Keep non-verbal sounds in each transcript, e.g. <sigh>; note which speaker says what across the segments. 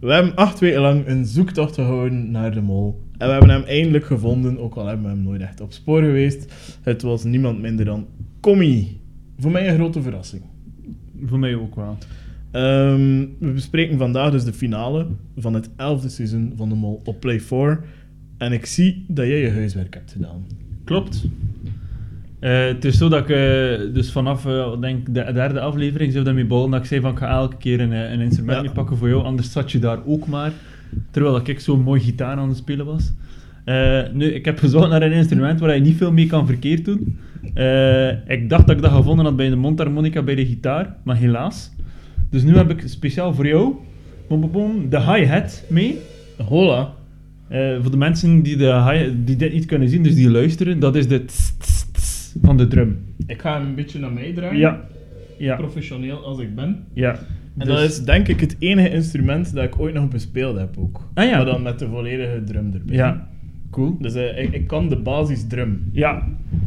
Speaker 1: We hebben acht weken lang een zoektocht gehouden naar de mol. En we hebben hem eindelijk gevonden, ook al hebben we hem nooit echt op spoor geweest. Het was niemand minder dan Commie. Voor mij een grote verrassing.
Speaker 2: Voor mij ook wel.
Speaker 1: Ehm, we bespreken vandaag dus de finale van het elfde seizoen van de mol op Play 4. En ik zie dat jij je huiswerk hebt gedaan.
Speaker 2: Klopt. Eh, het is zo dat ik eh, dus vanaf eh, denk de derde aflevering zou daarmee ballen dat ik zei van ik ga elke keer een, eh, een instrument
Speaker 1: Ja.
Speaker 2: mee pakken voor jou, anders zat je daar ook maar. Terwijl ik zo'n mooi gitaar aan het spelen was. Eh, nu, ik heb <laughs> gezocht naar een instrument waar je niet veel mee kan verkeerd doen. Eh, ik dacht dat ik dat gevonden had bij de mondharmonica bij de gitaar, maar helaas. Dus nu heb ik speciaal voor jou bom, bom, bom, de hi-hat mee.
Speaker 1: Hola.
Speaker 2: Eh, voor de mensen die, de hi- die dit niet kunnen zien, dus die luisteren, dat is de tss, tss, tss van de drum.
Speaker 1: Ik ga hem een beetje naar mij draaien.
Speaker 2: Ja, ja,
Speaker 1: Professioneel als ik ben.
Speaker 2: ja.
Speaker 1: En
Speaker 2: Dus-
Speaker 1: dat is denk ik het enige instrument dat ik ooit nog bespeeld heb ook.
Speaker 2: Ah ja.
Speaker 1: Maar dan met de volledige drum erbij.
Speaker 2: Ja, cool.
Speaker 1: Dus eh, ik, ik kan de basisdrum.
Speaker 2: Ja,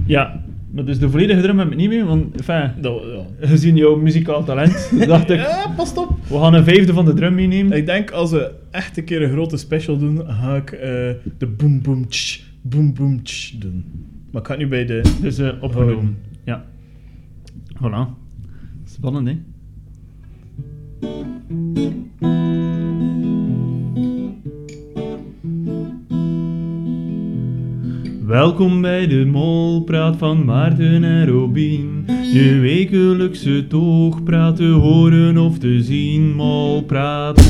Speaker 2: ja. Maar dus de volledige drum heb ik niet mee, want enfin,
Speaker 1: Dat, ja.
Speaker 2: <laughs> gezien jouw muzikaal
Speaker 1: <laughs>
Speaker 2: talent, dacht ik,
Speaker 1: Ja, past op.
Speaker 2: we gaan een vijfde van de drum meenemen.
Speaker 1: Ik denk als we echt een keer een grote special doen, ga ik eh, de boom boom tsch, boom boom tsch doen. Maar ik ga het nu bij de...
Speaker 2: Dus eh
Speaker 1: Houden.
Speaker 2: opgenomen. Ja. Voilà. Spannend, hè? Welkom bij de Molpraat van Maarten en Robin. De wekelijkse toogpraat te horen of te zien. Molpraat.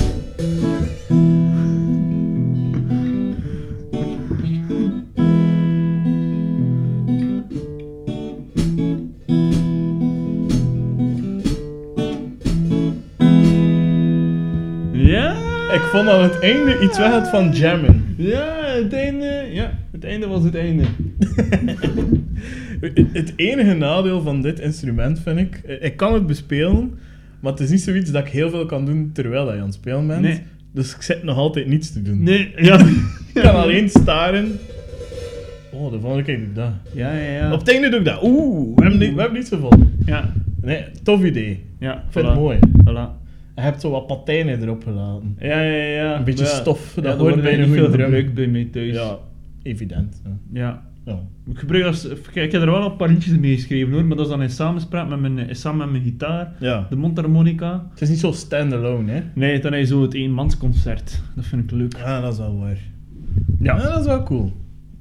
Speaker 2: Ja!
Speaker 1: Ik vond aan het einde iets weg had van jammen.
Speaker 2: Ja, het einde. Ja, het einde was het einde.
Speaker 1: Het enige nadeel van dit instrument vind ik, eh, ik kan het bespelen, maar het is niet zoiets dat ik heel veel kan doen terwijl dat je aan het spelen bent.
Speaker 2: Nee.
Speaker 1: Dus ik zit nog altijd niets te doen.
Speaker 2: <laughs> Nee, <laughs> ja.
Speaker 1: Ik kan alleen staren. Oh, de volgende keer doe ik dat.
Speaker 2: Ja, ja, ja.
Speaker 1: Op het einde doe ik dat. Oeh, we hebben, niet, we hebben niets gevonden.
Speaker 2: Ja,
Speaker 1: Nee, tof idee.
Speaker 2: ja.
Speaker 1: Ik vind
Speaker 2: voilà.
Speaker 1: het mooi.
Speaker 2: Voilà.
Speaker 1: Je hebt zo wat patijnen erop gelaten.
Speaker 2: Ja, ja, ja.
Speaker 1: Een beetje
Speaker 2: Ja.
Speaker 1: stof,
Speaker 2: Ja,
Speaker 1: dat
Speaker 2: er
Speaker 1: hoort
Speaker 2: wordt
Speaker 1: bij een
Speaker 2: niet
Speaker 1: goede
Speaker 2: veel
Speaker 1: drum.
Speaker 2: gebruikt bij mij thuis.
Speaker 1: Ja, evident. hè.
Speaker 2: Ja.
Speaker 1: Ja.
Speaker 2: Ik, gebruik als, ik ik heb er wel een paar liedjes mee geschreven hoor, maar dat is dan in samenspraak met mijn, eh, samen met mijn gitaar,
Speaker 1: ja.
Speaker 2: de mondharmonica.
Speaker 1: Het is niet zo standalone, hè?
Speaker 2: Nee, dan heb je zo het eenmansconcert. Dat vind ik leuk.
Speaker 1: Ja, dat is wel waar. Ja,
Speaker 2: Ja.
Speaker 1: dat is wel cool.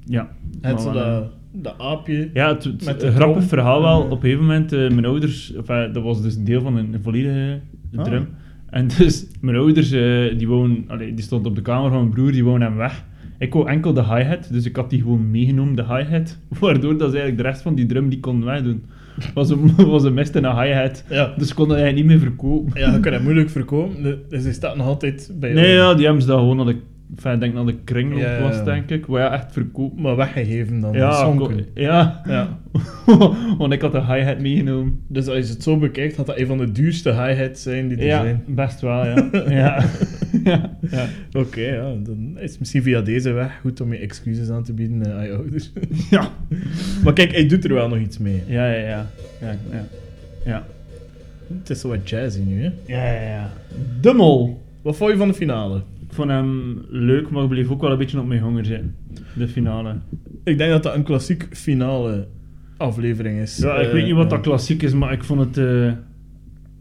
Speaker 2: Ja.
Speaker 1: Het
Speaker 2: Maar
Speaker 1: zo
Speaker 2: wel, eh,
Speaker 1: dat, dat aapje.
Speaker 2: Ja, het, het-
Speaker 1: Met de
Speaker 2: een grappig
Speaker 1: trom.
Speaker 2: verhaal wel.
Speaker 1: Eh.
Speaker 2: Op een gegeven moment, eh, mijn ouders, of, eh, dat was dus een deel van een, een volledige
Speaker 1: Ah.
Speaker 2: drum. En dus, mijn ouders, eh, die, woon, allee, die stond op de kamer van mijn broer, die woonde hem weg. Ik wou enkel de hi-hat, dus ik had die gewoon meegenomen, de hi-hat. <laughs> Waardoor dat ze eigenlijk de rest van die drum die kon wegdoen. Was een, <laughs> was een mist en een hi-hat.
Speaker 1: Ja.
Speaker 2: Dus ik kon dat eigenlijk niet meer verkopen.
Speaker 1: Ja, je kan
Speaker 2: <laughs>
Speaker 1: dat moeilijk verkopen, dus hij staat nog altijd bij
Speaker 2: Nee,
Speaker 1: jou.
Speaker 2: ja, die hebben ze dat gewoon aan de, enfin, ik denk dat de kringloop
Speaker 1: Ja, ja, ja.
Speaker 2: was, denk ik. Waar ja, echt verkopen.
Speaker 1: Maar weggegeven dan,
Speaker 2: Ja,
Speaker 1: geschonken.
Speaker 2: ko- ja. <laughs>
Speaker 1: Ja.
Speaker 2: want ik had de hi-hat meegenomen.
Speaker 1: Dus als je het zo bekijkt, had dat een van de duurste hi-hats zijn die er
Speaker 2: Ja,
Speaker 1: zijn.
Speaker 2: best wel, <laughs> ja. ja. ja. <laughs> ja.
Speaker 1: Oké, ja, dan is het misschien via deze weg goed om je excuses aan te bieden eh, aan je ouders. <laughs>
Speaker 2: Ja.
Speaker 1: maar kijk, hij doet er wel nog iets mee.
Speaker 2: Ja, ja, ja. Ja, ja. Ja,
Speaker 1: Het is zo wat jazzy nu, hè.
Speaker 2: ja, ja. De mol.
Speaker 1: Wat vond je van de finale?
Speaker 2: Ik vond hem leuk, maar ik bleef ook wel een beetje op mijn honger zitten. De finale.
Speaker 1: Ik denk dat dat een klassiek finale aflevering is.
Speaker 2: Ja, ik
Speaker 1: Eh,
Speaker 2: weet niet wat
Speaker 1: ja.
Speaker 2: dat klassiek is, maar ik vond het... eh,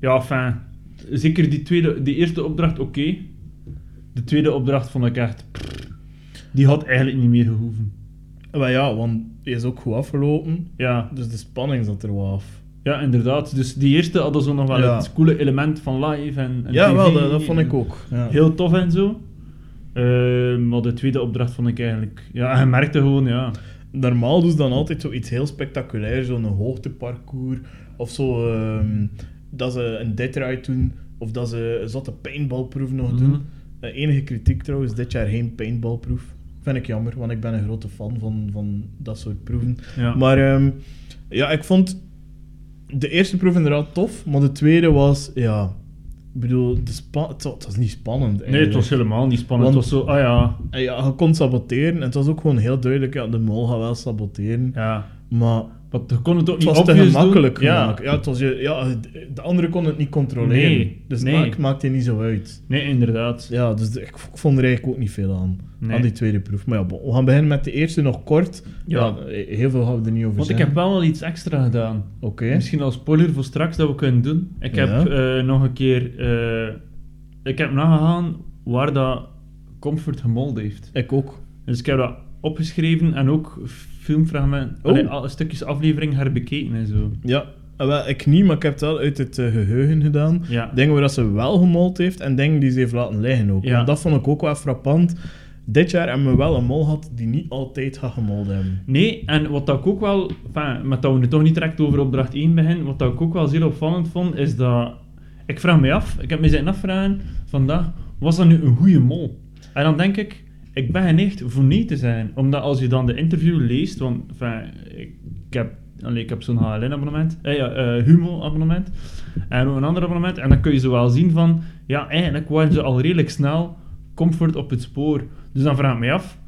Speaker 2: ja, fijn. Zeker die, tweede, die eerste opdracht, oké. De tweede opdracht vond ik echt... Die had eigenlijk niet meer gehoeven.
Speaker 1: Maar ja, want hij is ook goed afgelopen,
Speaker 2: Ja,
Speaker 1: dus de spanning zat er wel af.
Speaker 2: ja inderdaad. Dus die eerste hadden zo nog wel
Speaker 1: Ja.
Speaker 2: het coole element van live en, en
Speaker 1: Ja,
Speaker 2: TV
Speaker 1: wel, dat, dat vond ik
Speaker 2: en-
Speaker 1: ook. Ja.
Speaker 2: heel tof en zo. Eh, maar de tweede opdracht vond ik eigenlijk... Ja, <laughs> je merkte gewoon, ja.
Speaker 1: Normaal doen ze dan altijd zoiets heel spectaculairs, zo'n hoogteparcours of zo. ehm, dat ze een dead ride doen of dat ze een zotte paintballproef nog doen.
Speaker 2: Mhm.
Speaker 1: Eh, enige kritiek trouwens, dit jaar geen paintballproef. Vind ik jammer, want ik ben een grote fan van, van dat soort proeven.
Speaker 2: Ja.
Speaker 1: Maar ehm, ja, ik vond de eerste proef inderdaad tof, maar de tweede was, ja, ik bedoel, de spa- het, wa- het was niet spannend.
Speaker 2: nee, het was
Speaker 1: eigenlijk. Eh,
Speaker 2: helemaal niet spannend.
Speaker 1: Want-
Speaker 2: Het was zo, ah ja.
Speaker 1: En Ja, je kon saboteren en het was ook gewoon heel duidelijk, ja, de mol gaat wel saboteren.
Speaker 2: Ja,
Speaker 1: Maar
Speaker 2: Want je kon het ook
Speaker 1: Het
Speaker 2: niet
Speaker 1: was te
Speaker 2: obvious doen.
Speaker 1: gemakkelijk
Speaker 2: Ja.
Speaker 1: gemaakt. Ja, het was, je- ja, de anderen kon het niet controleren.
Speaker 2: Nee,
Speaker 1: dus
Speaker 2: nee.
Speaker 1: maak maakt hij niet zo uit.
Speaker 2: Nee, inderdaad.
Speaker 1: Ja, dus de- ik, ik vond er eigenlijk ook niet veel aan.
Speaker 2: Nee.
Speaker 1: Aan die tweede proef. Maar ja, bon, we gaan beginnen met de eerste nog kort. Ja.
Speaker 2: Ja.
Speaker 1: heel veel gaan we er niet over
Speaker 2: Want ik
Speaker 1: zeggen.
Speaker 2: heb wel al iets extra gedaan.
Speaker 1: Oké.
Speaker 2: Misschien als spoiler voor straks dat we kunnen doen. Ik heb
Speaker 1: Ja.
Speaker 2: eh, nog een keer... eh, ik heb nagegaan waar dat Comfort gemold heeft.
Speaker 1: Ik ook.
Speaker 2: Dus ik heb dat opgeschreven en ook filmfragmenten...
Speaker 1: Oh.
Speaker 2: allee, al- stukjes aflevering herbekeken en zo.
Speaker 1: Ja. Eh, Wel, ik niet, maar ik heb het wel uit het eh, geheugen gedaan.
Speaker 2: Ja.
Speaker 1: Dingen waar dat ze wel gemold heeft en dingen die ze heeft laten liggen ook.
Speaker 2: Ja.
Speaker 1: Want dat vond ik ook wel frappant. Dit jaar hebben we wel een mol gehad die niet altijd gaat gemold hebben.
Speaker 2: Nee, en wat dat ik ook wel, enfin, met dat we nu toch niet direct over opdracht 1 beginnen, wat dat ik ook wel zeer opvallend vond, is dat, ik vraag me af, ik heb me zitten afvragen vandaag, was dat nu een goede mol? En dan denk ik, ik ben geneigd voor nee te zijn, omdat als je dan de interview leest, want enfin, ik, ik heb, allee, ik heb zo'n HLN-abonnement, eh, ja, eh, Humo-abonnement, en ook een ander abonnement, en dan kun je zo wel zien van, ja, eigenlijk waren ze al redelijk snel comfort op het spoor. Dus dan vraag ik me af,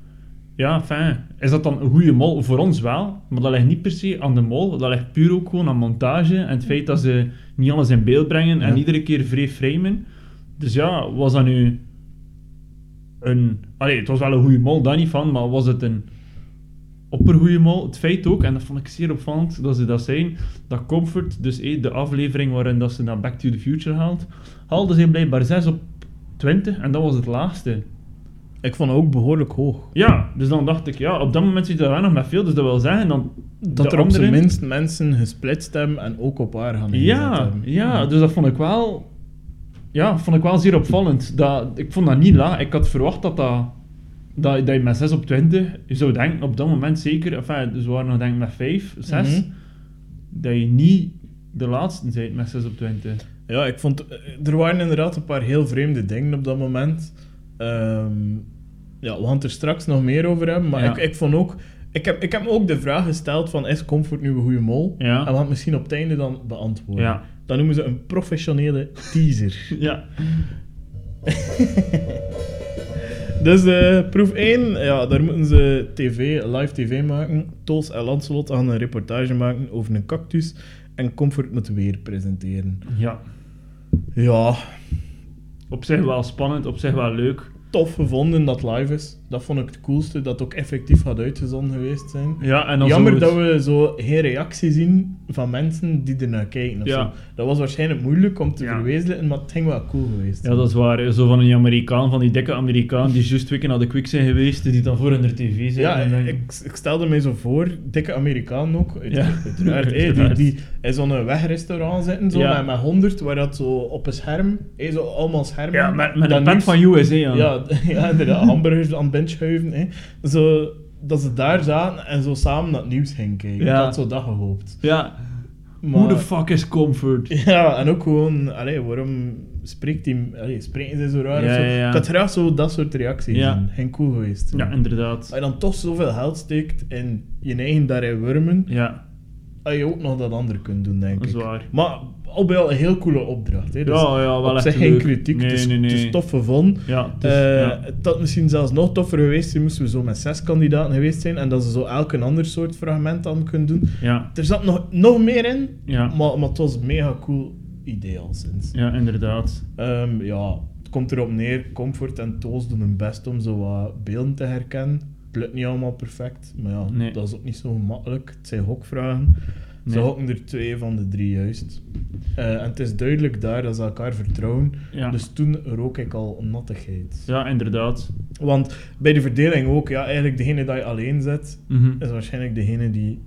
Speaker 2: ja, fijn. Is dat dan een goede mol? Voor ons wel, maar dat ligt niet per se aan de mol. Dat ligt puur ook gewoon aan montage en het feit dat ze niet alles in beeld brengen en
Speaker 1: Ja.
Speaker 2: iedere keer vrij framen. Dus ja, was dat nu een... Allee, het was wel een goede mol, daar niet van, maar was het een oppergoeie mol? Het feit ook, en dat vond ik zeer opvallend dat ze dat zijn, dat Comfort, dus eh, de aflevering waarin dat ze naar Back to the Future haalt, haalde ze blijkbaar 6 op 20 en dat was het laagste.
Speaker 1: Ik vond het ook behoorlijk hoog.
Speaker 2: Ja, dus dan dacht ik, ja, op dat moment zit je daar wel nog met veel, dus dat wil zeggen dan...
Speaker 1: Dat
Speaker 2: de
Speaker 1: er op zijn
Speaker 2: anderen-
Speaker 1: minst mensen gesplitst hebben en ook op haar gaan ingezet
Speaker 2: Ja,
Speaker 1: hebben.
Speaker 2: ja, dus dat vond ik wel... Ja, vond ik wel zeer opvallend. Dat, ik vond dat niet laag. Ik had verwacht dat dat... Dat, dat je met 6 op 20 je zou denken, op dat moment zeker, enfin, dus we waren nog denk ik met 5, 6,
Speaker 1: Mhm.
Speaker 2: dat je niet de laatste bent met 6 op 20.
Speaker 1: Ja, ik vond... eh, Er waren inderdaad een paar heel vreemde dingen op dat moment. Ehm, ja, we gaan het er straks nog meer over hebben, maar
Speaker 2: Ja.
Speaker 1: ik, ik vond ook... Ik heb, ik heb me ook de vraag gesteld van, is Comfort nu een goede mol?
Speaker 2: Ja.
Speaker 1: En we gaan het misschien op het einde dan beantwoorden.
Speaker 2: Ja.
Speaker 1: Dat noemen ze een professionele teaser.
Speaker 2: Ja.
Speaker 1: dus eh, proef 1, ja, daar moeten ze tv, live tv maken. Toos en Lancelot gaan een reportage maken over een cactus. En Comfort moet weer presenteren.
Speaker 2: ja.
Speaker 1: Ja,
Speaker 2: Op zich wel spannend, op zich wel leuk.
Speaker 1: tof gevonden dat live is. Dat vond ik het coolste, dat het ook effectief had uitgezonden geweest zijn.
Speaker 2: Ja, en dan
Speaker 1: Jammer
Speaker 2: zo het-
Speaker 1: dat we zo geen reactie zien van mensen die er naar kijken. Of
Speaker 2: Ja.
Speaker 1: zo. Dat was waarschijnlijk moeilijk om te
Speaker 2: Ja.
Speaker 1: verwezenlijken, maar het ging wel cool geweest.
Speaker 2: Ja, dat is waar. Zo van een Amerikaan, van die dikke Amerikaan, die juist twee keer naar de Quick zijn geweest, die dan voor in de tv zijn.
Speaker 1: Ja,
Speaker 2: en dan-
Speaker 1: ik, ik stelde mij zo voor, dikke Amerikaan ook, uit-
Speaker 2: Ja. <laughs>
Speaker 1: uiteraard, hè, die,
Speaker 2: Uiteraard.
Speaker 1: die in zo'n wegrestaurant zitten, zo,
Speaker 2: Ja.
Speaker 1: met, met 100, waar dat zo op een scherm, hè, zo allemaal schermen.
Speaker 2: ja met, met
Speaker 1: dat
Speaker 2: een pen
Speaker 1: niks-
Speaker 2: van USA aan.
Speaker 1: Ja, ja <laughs> inderdaad, hamburgers aan het bench schuiven. Hè. Zo, dat ze daar zaten en zo samen naar het nieuws gingen kijken.
Speaker 2: Ja.
Speaker 1: Ik had zo dat gehoopt.
Speaker 2: Ja.
Speaker 1: Maar-
Speaker 2: Who the fuck is Comfort?
Speaker 1: <laughs> Ja, en ook gewoon, allee, waarom spreekt die, allee, spreken ze zo raar?
Speaker 2: Ja,
Speaker 1: of zo?
Speaker 2: ja, ja.
Speaker 1: Ik had graag zo dat soort reacties
Speaker 2: Ja.
Speaker 1: zien. Ging cool geweest.
Speaker 2: Ja, inderdaad.
Speaker 1: Als je dan toch zoveel geld steekt en je eigen daarin wurmen,
Speaker 2: Ja,
Speaker 1: had Ah, je ook nog dat ander kunt doen, denk
Speaker 2: dat is
Speaker 1: ik.
Speaker 2: waar.
Speaker 1: Maar al bij al een heel coole opdracht. Hè. Dus
Speaker 2: ja, ja, wel
Speaker 1: op
Speaker 2: echt
Speaker 1: zich geen
Speaker 2: leuk.
Speaker 1: kritiek,
Speaker 2: Nee,
Speaker 1: het, is,
Speaker 2: nee, nee.
Speaker 1: het is tof gevonden.
Speaker 2: Ja,
Speaker 1: Eh
Speaker 2: dus, ja.
Speaker 1: Het had misschien zelfs nog toffer geweest, zijn, moesten we zo met zes kandidaten geweest zijn en dat ze zo elk een ander soort fragment aan kunnen doen.
Speaker 2: ja,
Speaker 1: Er zat nog, nog meer in,
Speaker 2: Ja.
Speaker 1: maar, maar het was een mega cool idee al sinds.
Speaker 2: ja, inderdaad.
Speaker 1: Ehm, ja, het komt erop neer, Comfort en Toos doen hun best om zo wat beelden te herkennen. Het lukt niet allemaal perfect, maar ja,
Speaker 2: Nee.
Speaker 1: dat is ook niet zo gemakkelijk. Het zijn hokvragen. Ze
Speaker 2: Nee.
Speaker 1: hokken er twee van de drie juist. Eh, en het is duidelijk daar dat ze elkaar vertrouwen.
Speaker 2: Ja.
Speaker 1: Dus toen rook ik al nattigheid.
Speaker 2: Ja, inderdaad.
Speaker 1: Want bij de verdeling ook, ja, eigenlijk degene die je alleen zet,
Speaker 2: Mhm.
Speaker 1: is waarschijnlijk degene die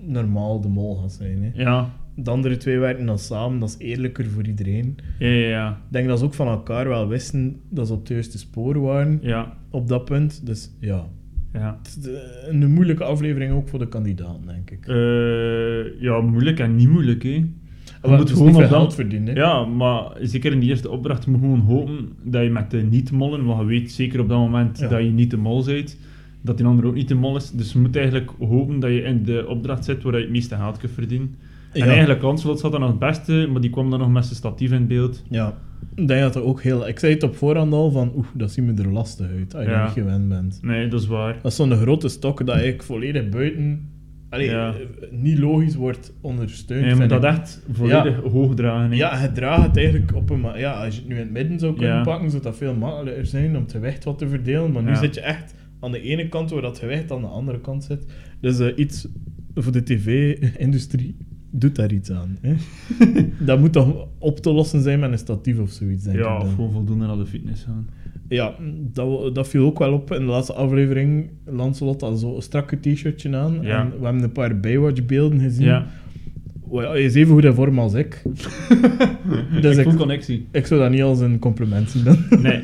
Speaker 1: normaal de mol gaat zijn. Hè.
Speaker 2: Ja,
Speaker 1: De andere twee werken dan samen, dat is eerlijker voor iedereen.
Speaker 2: ja, ja, ja.
Speaker 1: Ik denk dat ze ook van elkaar wel wisten dat ze op het juiste spoor waren
Speaker 2: Ja,
Speaker 1: op dat punt. Dus ja,
Speaker 2: ja.
Speaker 1: het is de- een moeilijke aflevering ook voor de kandidaten, denk ik.
Speaker 2: Eh, ja, moeilijk en niet moeilijk, hè.
Speaker 1: Maar het
Speaker 2: moet
Speaker 1: is
Speaker 2: gewoon
Speaker 1: dus niet
Speaker 2: op
Speaker 1: veel
Speaker 2: dat-
Speaker 1: geld verdienen. hè.
Speaker 2: Ja, maar zeker in die eerste opdracht moet je gewoon hopen dat je met de niet-mollen, want je weet zeker op dat moment
Speaker 1: Ja.
Speaker 2: dat je niet de mol bent, dat die ander ook niet de mol is. Dus je moet eigenlijk hopen dat je in de opdracht zit waar je het meeste geld kunt verdienen.
Speaker 1: Ja.
Speaker 2: En eigenlijk Lancelot zat dan nog het beste, maar die kwam dan nog met zijn statief in beeld.
Speaker 1: Ja. Ik denk dat er ook heel... Ik zei het op voorhand al van, oeh, dat ziet me er lastig uit als je
Speaker 2: Ja.
Speaker 1: niet gewend bent.
Speaker 2: Nee, dat is waar.
Speaker 1: Dat is zo'n grote stok dat ik volledig buiten allee,
Speaker 2: Ja.
Speaker 1: eh, niet logisch wordt ondersteund.
Speaker 2: Nee, je moet
Speaker 1: vind
Speaker 2: dat
Speaker 1: ik.
Speaker 2: echt volledig hoog dragen. hè.
Speaker 1: Ja, het draagt het eigenlijk op een... ma- Ja, als je het nu in het midden zou kunnen
Speaker 2: Ja.
Speaker 1: pakken, zou dat veel makkelijker zijn om het gewicht wat te verdelen. Maar nu
Speaker 2: Ja.
Speaker 1: zit je echt aan de ene kant waar dat gewicht aan de andere kant zit. Dus eh, iets voor de tv-industrie doet daar iets aan.
Speaker 2: <laughs>
Speaker 1: Hè? dat moet toch op te lossen zijn met een statief of zoiets, denk
Speaker 2: ja
Speaker 1: ik dan.
Speaker 2: of gewoon voldoende naar de fitness gaan.
Speaker 1: Ja, dat, dat viel ook wel op. In de laatste aflevering, Lancelot had zo'n strakke t-shirtje aan.
Speaker 2: Ja.
Speaker 1: En we hebben een paar Baywatch-beelden gezien. <laughs>
Speaker 2: Ja.
Speaker 1: Wel, ja, hij is even goed in vorm als
Speaker 2: <laughs>
Speaker 1: ik.
Speaker 2: ik
Speaker 1: Dus ik-
Speaker 2: voel connectie.
Speaker 1: Ik zou dat niet als een compliment zien dan.
Speaker 2: Nee.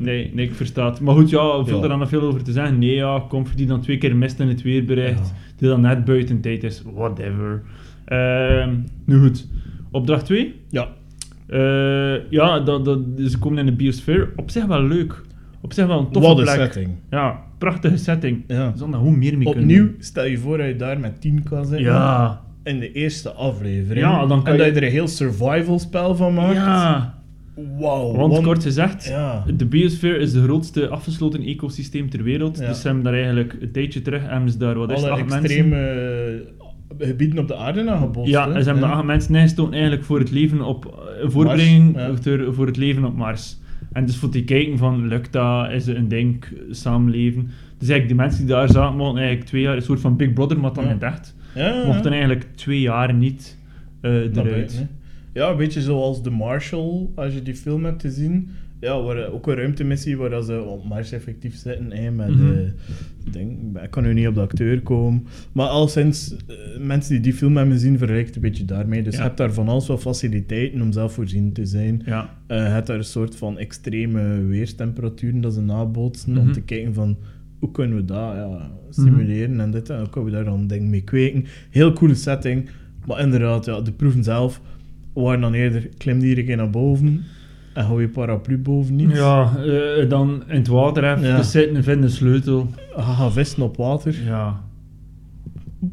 Speaker 2: Nee, nee, ik versta het. Maar goed, ja, veel
Speaker 1: Ja.
Speaker 2: er dan nog veel over te zeggen. Nee, ja, Comfort die dan twee keer mist in het weer bereikt,
Speaker 1: Ja.
Speaker 2: die dan net buiten tijd is, whatever. Ehm, nu goed, opdracht 2.
Speaker 1: <laughs> Ja.
Speaker 2: Eh, ja, dat, dat, ze komen in de biosfeer. Op zich wel leuk. Op zich wel een toffe
Speaker 1: Wat een
Speaker 2: plek.
Speaker 1: setting.
Speaker 2: Ja, prachtige setting.
Speaker 1: Ja.
Speaker 2: Zonder hoe meer mee kunnen
Speaker 1: Opnieuw,
Speaker 2: doen.
Speaker 1: stel je voor dat je daar met 10 kan zijn.
Speaker 2: Ja.
Speaker 1: In de eerste aflevering.
Speaker 2: Ja, dan kan
Speaker 1: en dat
Speaker 2: je-
Speaker 1: je er een heel survival spel van maakt.
Speaker 2: Ja.
Speaker 1: Wauw.
Speaker 2: Want
Speaker 1: want-
Speaker 2: kort gezegd,
Speaker 1: Ja.
Speaker 2: de biosfeer is de grootste afgesloten ecosysteem ter wereld.
Speaker 1: Ja.
Speaker 2: Dus ze hebben daar eigenlijk een tijdje terug, hebben ze daar wat is het,
Speaker 1: alle
Speaker 2: acht
Speaker 1: extreme
Speaker 2: mensen...
Speaker 1: eh, gebieden op de aarde aangeboden.
Speaker 2: Ja, ze hebben daar acht mensen ingestoten eigenlijk voor het leven op... eh, Een voorbereiding
Speaker 1: ja.
Speaker 2: ter- voor het leven op Mars. En dus voor te kijken van, lukt dat? Is het een ding? Samenleven? Dus eigenlijk die mensen die daar zaten, mochten eigenlijk twee jaar... Een soort van Big Brother, maar dan
Speaker 1: Ja.
Speaker 2: gedacht.
Speaker 1: ja.
Speaker 2: Mochten eigenlijk twee jaar niet eh
Speaker 1: Naar
Speaker 2: eruit.
Speaker 1: buiten, hè. Ja, een beetje zoals The Marshal, als je die film hebt gezien. Ja, waar, eh, ook een ruimtemissie waar dat ze op Mars effectief zitten. Hè, met,
Speaker 2: Mhm.
Speaker 1: eh, ik denk, ik ben- ik kan nu niet op de acteur komen. Maar al sinds eh, mensen die die film hebben gezien, vergelijkt een beetje daarmee. Dus
Speaker 2: Ja.
Speaker 1: je hebt daar van alles wat faciliteiten om zelfvoorzienend te zijn.
Speaker 2: Ja.
Speaker 1: Eh, je hebt daar een soort van extreme weerstemperaturen dat ze nabootsen.
Speaker 2: Mhm.
Speaker 1: Om te kijken van, hoe kunnen we dat ja, simuleren en dit. En hoe kunnen we daar dan ding mee kweken. Heel coole setting. Maar inderdaad, ja, de proeven zelf waren dan eerder... Klim hier een keer naar boven en hou je paraplu boven niet.
Speaker 2: Ja, eh, dan in het water even
Speaker 1: Ja.
Speaker 2: te zitten, vinden een sleutel.
Speaker 1: Ga gaan vissen op water.
Speaker 2: Ja.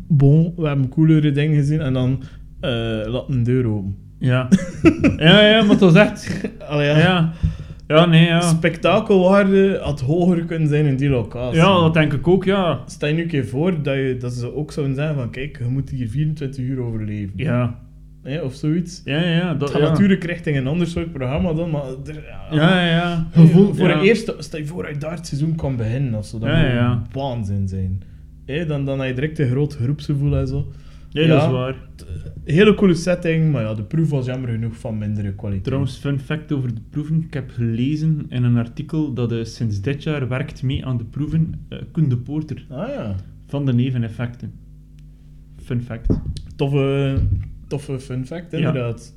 Speaker 1: Bon, we hebben coolere dingen gezien. En dan eh, laat een deur open.
Speaker 2: Ja. <laughs> ja, ja, maar dat is echt...
Speaker 1: Allee, ja.
Speaker 2: Ja. Ja, nee, ja.
Speaker 1: Spektakelwaarde had hoger kunnen zijn in die locatie.
Speaker 2: Ja, dat denk ik ook, ja.
Speaker 1: Stel je nu een keer voor dat, je, dat ze ook zouden zeggen van kijk, je moet hier 24 uur overleven.
Speaker 2: Ja.
Speaker 1: Hè, of zoiets.
Speaker 2: Ja, ja, ja. Dat,
Speaker 1: Het gaat
Speaker 2: ja.
Speaker 1: natuurlijk richting een ander soort programma dan, maar... er- ja.
Speaker 2: Ja, ja, ja.
Speaker 1: Gevoel voor
Speaker 2: ja.
Speaker 1: de eerste... Stel je voor dat je daar het seizoen kan beginnen of zo. Dat
Speaker 2: Ja,
Speaker 1: moet
Speaker 2: ja, ja.
Speaker 1: waanzin zijn. Hè, dan, dan heb je direct een groot groepsgevoel en zo.
Speaker 2: Nee, dat
Speaker 1: Ja.
Speaker 2: is waar.
Speaker 1: Hele coole setting, maar ja, de proef was jammer genoeg van mindere kwaliteit.
Speaker 2: Trouwens, fun fact over de proeven. Ik heb gelezen in een artikel dat eh, sinds dit jaar werkt mee aan de proeven eh Kunde Porter
Speaker 1: Ah ja.
Speaker 2: van de neveneffecten. Fun fact.
Speaker 1: Toffe, toffe fun fact, inderdaad.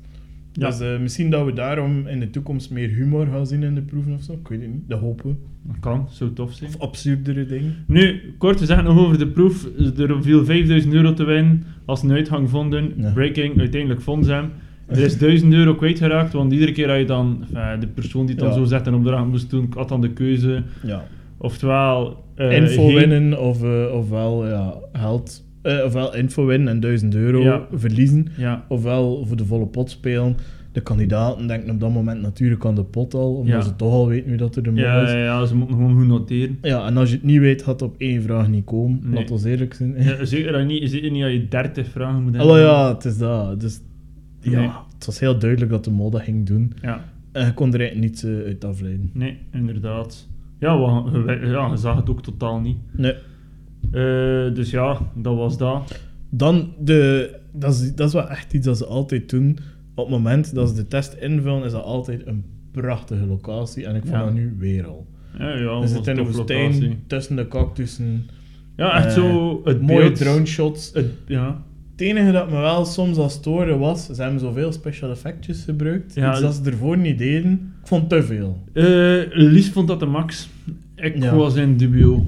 Speaker 2: Ja.
Speaker 1: Dus eh, misschien dat we daarom in de toekomst meer humor gaan zien in de proeven of zo. Ik weet het niet, dat hopen we.
Speaker 2: Dat kan, zou tof zijn.
Speaker 1: Of absurdere dingen.
Speaker 2: Nu, kort te zeggen nog over de proef. Er viel 5000 euro te winnen als een uitgang vonden.
Speaker 1: Ja.
Speaker 2: Breaking, uiteindelijk vonden ze hem. Er is 1000 euro kwijtgeraakt, want iedere keer dat je dan... enfin, de persoon die het dan
Speaker 1: Ja.
Speaker 2: zo zet en opdracht moest doen, had dan de keuze.
Speaker 1: Ja.
Speaker 2: Oftewel... eh,
Speaker 1: info
Speaker 2: geen-
Speaker 1: winnen of, eh, ofwel ja, geld. eh, ofwel info winnen en 1000 euro
Speaker 2: Ja.
Speaker 1: verliezen.
Speaker 2: Ja,
Speaker 1: Ofwel voor de volle pot spelen. De kandidaten denken op dat moment natuurlijk aan de pot al, omdat
Speaker 2: Ja.
Speaker 1: ze toch al weten wie dat er de man
Speaker 2: ja,
Speaker 1: is.
Speaker 2: ja, ja, ze moeten gewoon goed noteren.
Speaker 1: Ja, en als je het niet weet, gaat het op één vraag niet komen.
Speaker 2: Nee.
Speaker 1: Laten we eerlijk zijn.
Speaker 2: Ja, zeker, dat niet, zeker niet dat je 30 vragen moet hebben.
Speaker 1: Allo ja, het is dat. Dus ja,
Speaker 2: Nee.
Speaker 1: het was heel duidelijk dat de mol dat ging doen.
Speaker 2: Ja,
Speaker 1: En je kon er eigenlijk niets eh, uit afleiden.
Speaker 2: nee, inderdaad. Ja, we, we- ja, je zag het ook totaal niet.
Speaker 1: Nee.
Speaker 2: Eh, dus ja, dat was dat.
Speaker 1: Dan, de, dat, is, dat is wel echt iets dat ze altijd doen. Op het moment dat ze de test invullen, is dat altijd een prachtige locatie. En ik vond
Speaker 2: Ja.
Speaker 1: dat nu weer al.
Speaker 2: Ja, ja,
Speaker 1: We
Speaker 2: was
Speaker 1: zitten in
Speaker 2: tof
Speaker 1: een
Speaker 2: locatie.
Speaker 1: woestijn, tussen de cactussen.
Speaker 2: Ja, echt
Speaker 1: Eh,
Speaker 2: zo het
Speaker 1: mooie
Speaker 2: beeld.
Speaker 1: drone shots. Het,
Speaker 2: Ja,
Speaker 1: het enige dat me wel soms al storen was, ze hebben zoveel special effectjes gebruikt.
Speaker 2: Ja.
Speaker 1: Iets dat ze ervoor niet deden. Ik vond te veel.
Speaker 2: Eh, Lies vond dat de max. Ik
Speaker 1: Ja. Eh,
Speaker 2: was in dubio.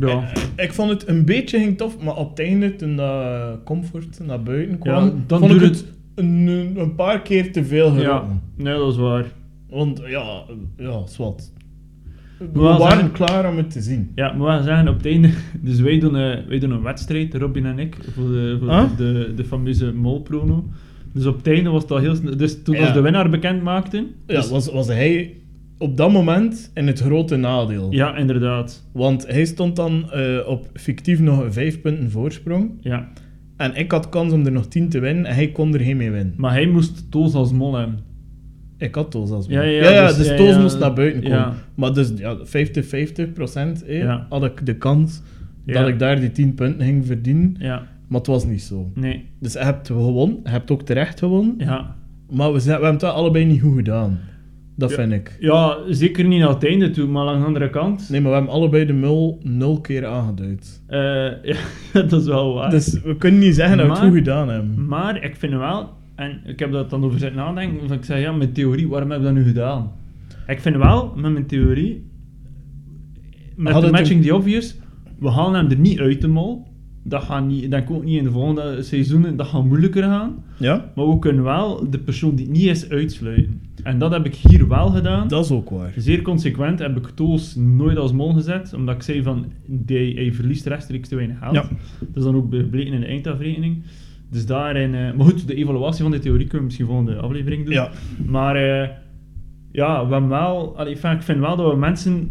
Speaker 2: Ja.
Speaker 1: Ik, ik vond het een beetje ging tof, maar op het einde, toen dat Comfort naar buiten kwam,
Speaker 2: Ja, dan
Speaker 1: vond ik
Speaker 2: duurt
Speaker 1: het, een, een paar keer te veel geroepen.
Speaker 2: ja, nee, dat is waar.
Speaker 1: Want ja, eh, ja, zwart. We
Speaker 2: Wel,
Speaker 1: waren
Speaker 2: zeg-
Speaker 1: klaar om het te zien.
Speaker 2: Ja, maar we zeggen op het einde. <laughs> Dus wij doen, eh, wij doen een wedstrijd, Robin en ik, voor de, voor
Speaker 1: Ah?
Speaker 2: de, de fameuze molprono. Dus op het einde was dat heel snel. Dus toen
Speaker 1: Ja.
Speaker 2: ons de winnaar bekend maakten.
Speaker 1: Ja,
Speaker 2: dus-
Speaker 1: was, was hij op dat moment in het grote nadeel.
Speaker 2: Ja, inderdaad.
Speaker 1: Want hij stond dan eh, op fictief nog vijf punten voorsprong.
Speaker 2: Ja.
Speaker 1: En ik had kans om er nog tien te winnen en hij kon er geen mee winnen.
Speaker 2: Maar hij moest Toos als mol hebben.
Speaker 1: Ik had Toos als
Speaker 2: Ja, ja,
Speaker 1: ja, ja,
Speaker 2: dus-
Speaker 1: dus,
Speaker 2: ja,
Speaker 1: Toos
Speaker 2: ja.
Speaker 1: moest naar buiten komen.
Speaker 2: Ja.
Speaker 1: Maar dus ja, 50-50 procent eh,
Speaker 2: Ja.
Speaker 1: had ik de kans
Speaker 2: Ja.
Speaker 1: dat ik daar die 10 punten ging verdienen.
Speaker 2: Ja.
Speaker 1: Maar het was niet zo.
Speaker 2: Nee.
Speaker 1: Dus je hebt gewonnen, je hebt ook terecht gewonnen.
Speaker 2: Ja.
Speaker 1: Maar we, zijn, we hebben het wel allebei niet goed gedaan. Dat vind ik.
Speaker 2: Ja, zeker niet naar het einde toe, maar aan de andere kant.
Speaker 1: Nee, maar we hebben allebei de mul nul keer aangeduid.
Speaker 2: eh, <laughs> ja, dat is wel waar.
Speaker 1: Dus we kunnen niet zeggen dat we het
Speaker 2: Ah. Maar-
Speaker 1: goed gedaan hebben.
Speaker 2: Maar ik vind wel, en ik heb dat dan over zitten nadenken, van ik zeg ja, mijn theorie, waarom heb ik dat nu gedaan? Ik vind wel, met mijn theorie, met
Speaker 1: Had
Speaker 2: de
Speaker 1: het
Speaker 2: matching the obvious, we halen hem er niet uit de mol. Dat gaat niet, denk ik ook niet in de volgende seizoenen, dat gaat moeilijker gaan.
Speaker 1: Ja?
Speaker 2: Maar we kunnen wel de persoon die het niet is uitsluiten. En dat heb ik hier wel gedaan.
Speaker 1: Dat is ook waar.
Speaker 2: Zeer consequent heb ik Toos nooit als mol gezet, omdat ik zei van, die, hij verliest rechtstreeks te weinig geld.
Speaker 1: Ja.
Speaker 2: Dat is dan ook gebleken in de eindafrekening. Dus daarin... eh, maar goed, de evaluatie van de theorie kunnen we misschien volgende aflevering doen.
Speaker 1: Ja.
Speaker 2: Maar eh, ja, we hebben wel... Allee, enfin, ik vind wel dat we mensen,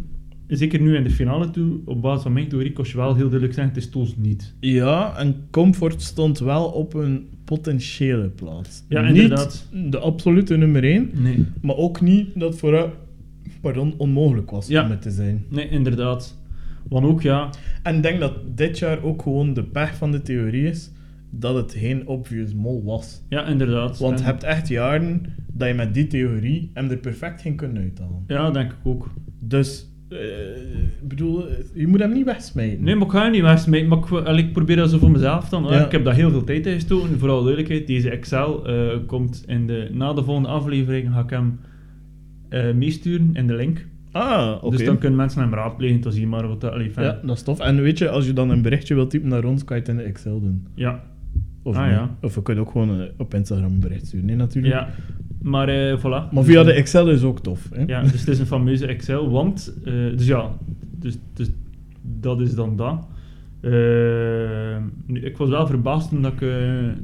Speaker 2: zeker nu in de finale toe, op basis van mijn theorie, kost je wel heel duidelijk zeggen, het is Toos niet.
Speaker 1: Ja, en Comfort stond wel op een potentiële plaats.
Speaker 2: Ja,
Speaker 1: niet
Speaker 2: inderdaad.
Speaker 1: de absolute nummer 1,
Speaker 2: Nee.
Speaker 1: maar ook niet dat het vooruit pardon, onmogelijk was
Speaker 2: Ja.
Speaker 1: om het te zijn.
Speaker 2: Nee, inderdaad. Want ook, ja...
Speaker 1: En ik denk dat dit jaar ook gewoon de pech van de theorie is dat het geen obvious mol was.
Speaker 2: Ja, inderdaad.
Speaker 1: Want je
Speaker 2: En-
Speaker 1: hebt echt jaren dat je met die theorie hem er perfect ging kunnen uithalen.
Speaker 2: Ja, denk ik ook.
Speaker 1: Dus, eh, ik bedoel, eh, je moet hem niet wegsmijten.
Speaker 2: Nee, maar ik ga je niet wegsmijten, maar ik, wil- allee, ik probeer dat zo voor mezelf dan. hè.
Speaker 1: Ja.
Speaker 2: Ik heb daar heel veel tijd in gestoken, vooral duidelijkheid. Deze Excel eh, komt in de, na de volgende aflevering, ga ik hem eh, meesturen in de link.
Speaker 1: Ah, oké.
Speaker 2: Dus dan kunnen mensen hem raadplegen, dan zie je maar wat dat... Allee,
Speaker 1: Ja,
Speaker 2: ja.
Speaker 1: dat is tof. En weet je, als je dan een berichtje wilt typen naar ons, kan je het in de Excel doen.
Speaker 2: ja.
Speaker 1: Of,
Speaker 2: Ah,
Speaker 1: niet.
Speaker 2: ja.
Speaker 1: of we kunnen ook gewoon eh, op Instagram een bericht sturen, nee, natuurlijk.
Speaker 2: Ja. Maar eh, voilà.
Speaker 1: Maar
Speaker 2: Dus,
Speaker 1: via de
Speaker 2: eh,
Speaker 1: Excel is ook tof. Hè?
Speaker 2: Ja, dus het is een fameuze Excel, want... eh, dus ja, dus, dus dat is dan dat. Eh, nu, ik was wel verbaasd toen dat ik, eh,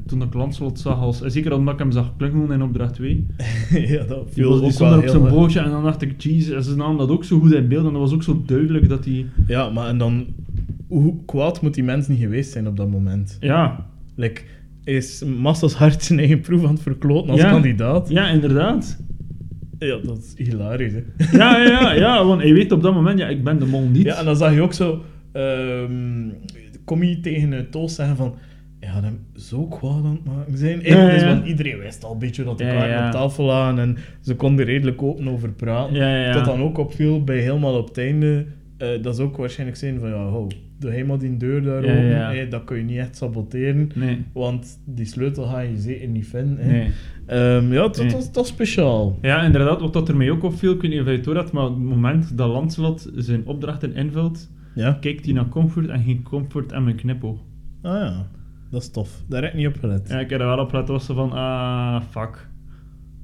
Speaker 2: toen ik Lanslot zag, als, en zeker omdat ik hem zag klungelen in opdracht
Speaker 1: <laughs>
Speaker 2: 2.
Speaker 1: ja, dat
Speaker 2: Die,
Speaker 1: viel
Speaker 2: was, die
Speaker 1: ook
Speaker 2: stond
Speaker 1: wel
Speaker 2: er op
Speaker 1: heel
Speaker 2: zijn
Speaker 1: erg.
Speaker 2: bootje en dan dacht ik, jezus, ze namen dat ook zo goed in beeld en dat was ook zo duidelijk dat die...
Speaker 1: Ja, maar en dan, hoe kwaad moet die mens niet geweest zijn op dat moment?
Speaker 2: Ja,
Speaker 1: Like, is Massas hart zijn eigen proef aan het verkloten als
Speaker 2: Ja.
Speaker 1: kandidaat?
Speaker 2: ja, inderdaad.
Speaker 1: Ja, dat is hilarisch. Hè?
Speaker 2: Ja, ja, ja, ja, want je weet op dat moment, ja, ik ben de mol niet.
Speaker 1: Ja, en dan zag je ook zo... ehm kom je tegen een Toos zeggen van... Ja, dat hem zo kwaad aan het maken zijn.
Speaker 2: Ja, ja,
Speaker 1: Dus,
Speaker 2: ja.
Speaker 1: want iedereen wist al een beetje dat de
Speaker 2: Ja,
Speaker 1: kaarten
Speaker 2: ja.
Speaker 1: op tafel lagen. En ze konden er redelijk open over praten.
Speaker 2: Ja, ja, ja.
Speaker 1: Dat dan ook opviel bij helemaal op het einde. eh, dat ze ook waarschijnlijk zijn van... Ja, ho, doe helemaal die deur daar
Speaker 2: Ja, ja,
Speaker 1: open.
Speaker 2: ja.
Speaker 1: hè, dat kun je niet echt saboteren.
Speaker 2: Nee,
Speaker 1: Want die sleutel ga je zeker niet vinden. hè.
Speaker 2: nee.
Speaker 1: Ehm, ja, dat
Speaker 2: Nee.
Speaker 1: was toch speciaal.
Speaker 2: Ja, inderdaad, wat dat er mij ook opviel, ik weet niet of je het door had, maar op het moment dat Lancelot zijn opdrachten invult,
Speaker 1: Ja.
Speaker 2: kijkt hij naar Comfort en ging Comfort en mijn knipoog.
Speaker 1: Ah ja, dat is tof. Daar heb ik niet op gelet.
Speaker 2: Ja, ik heb er wel op laten was zo van, ah, fuck.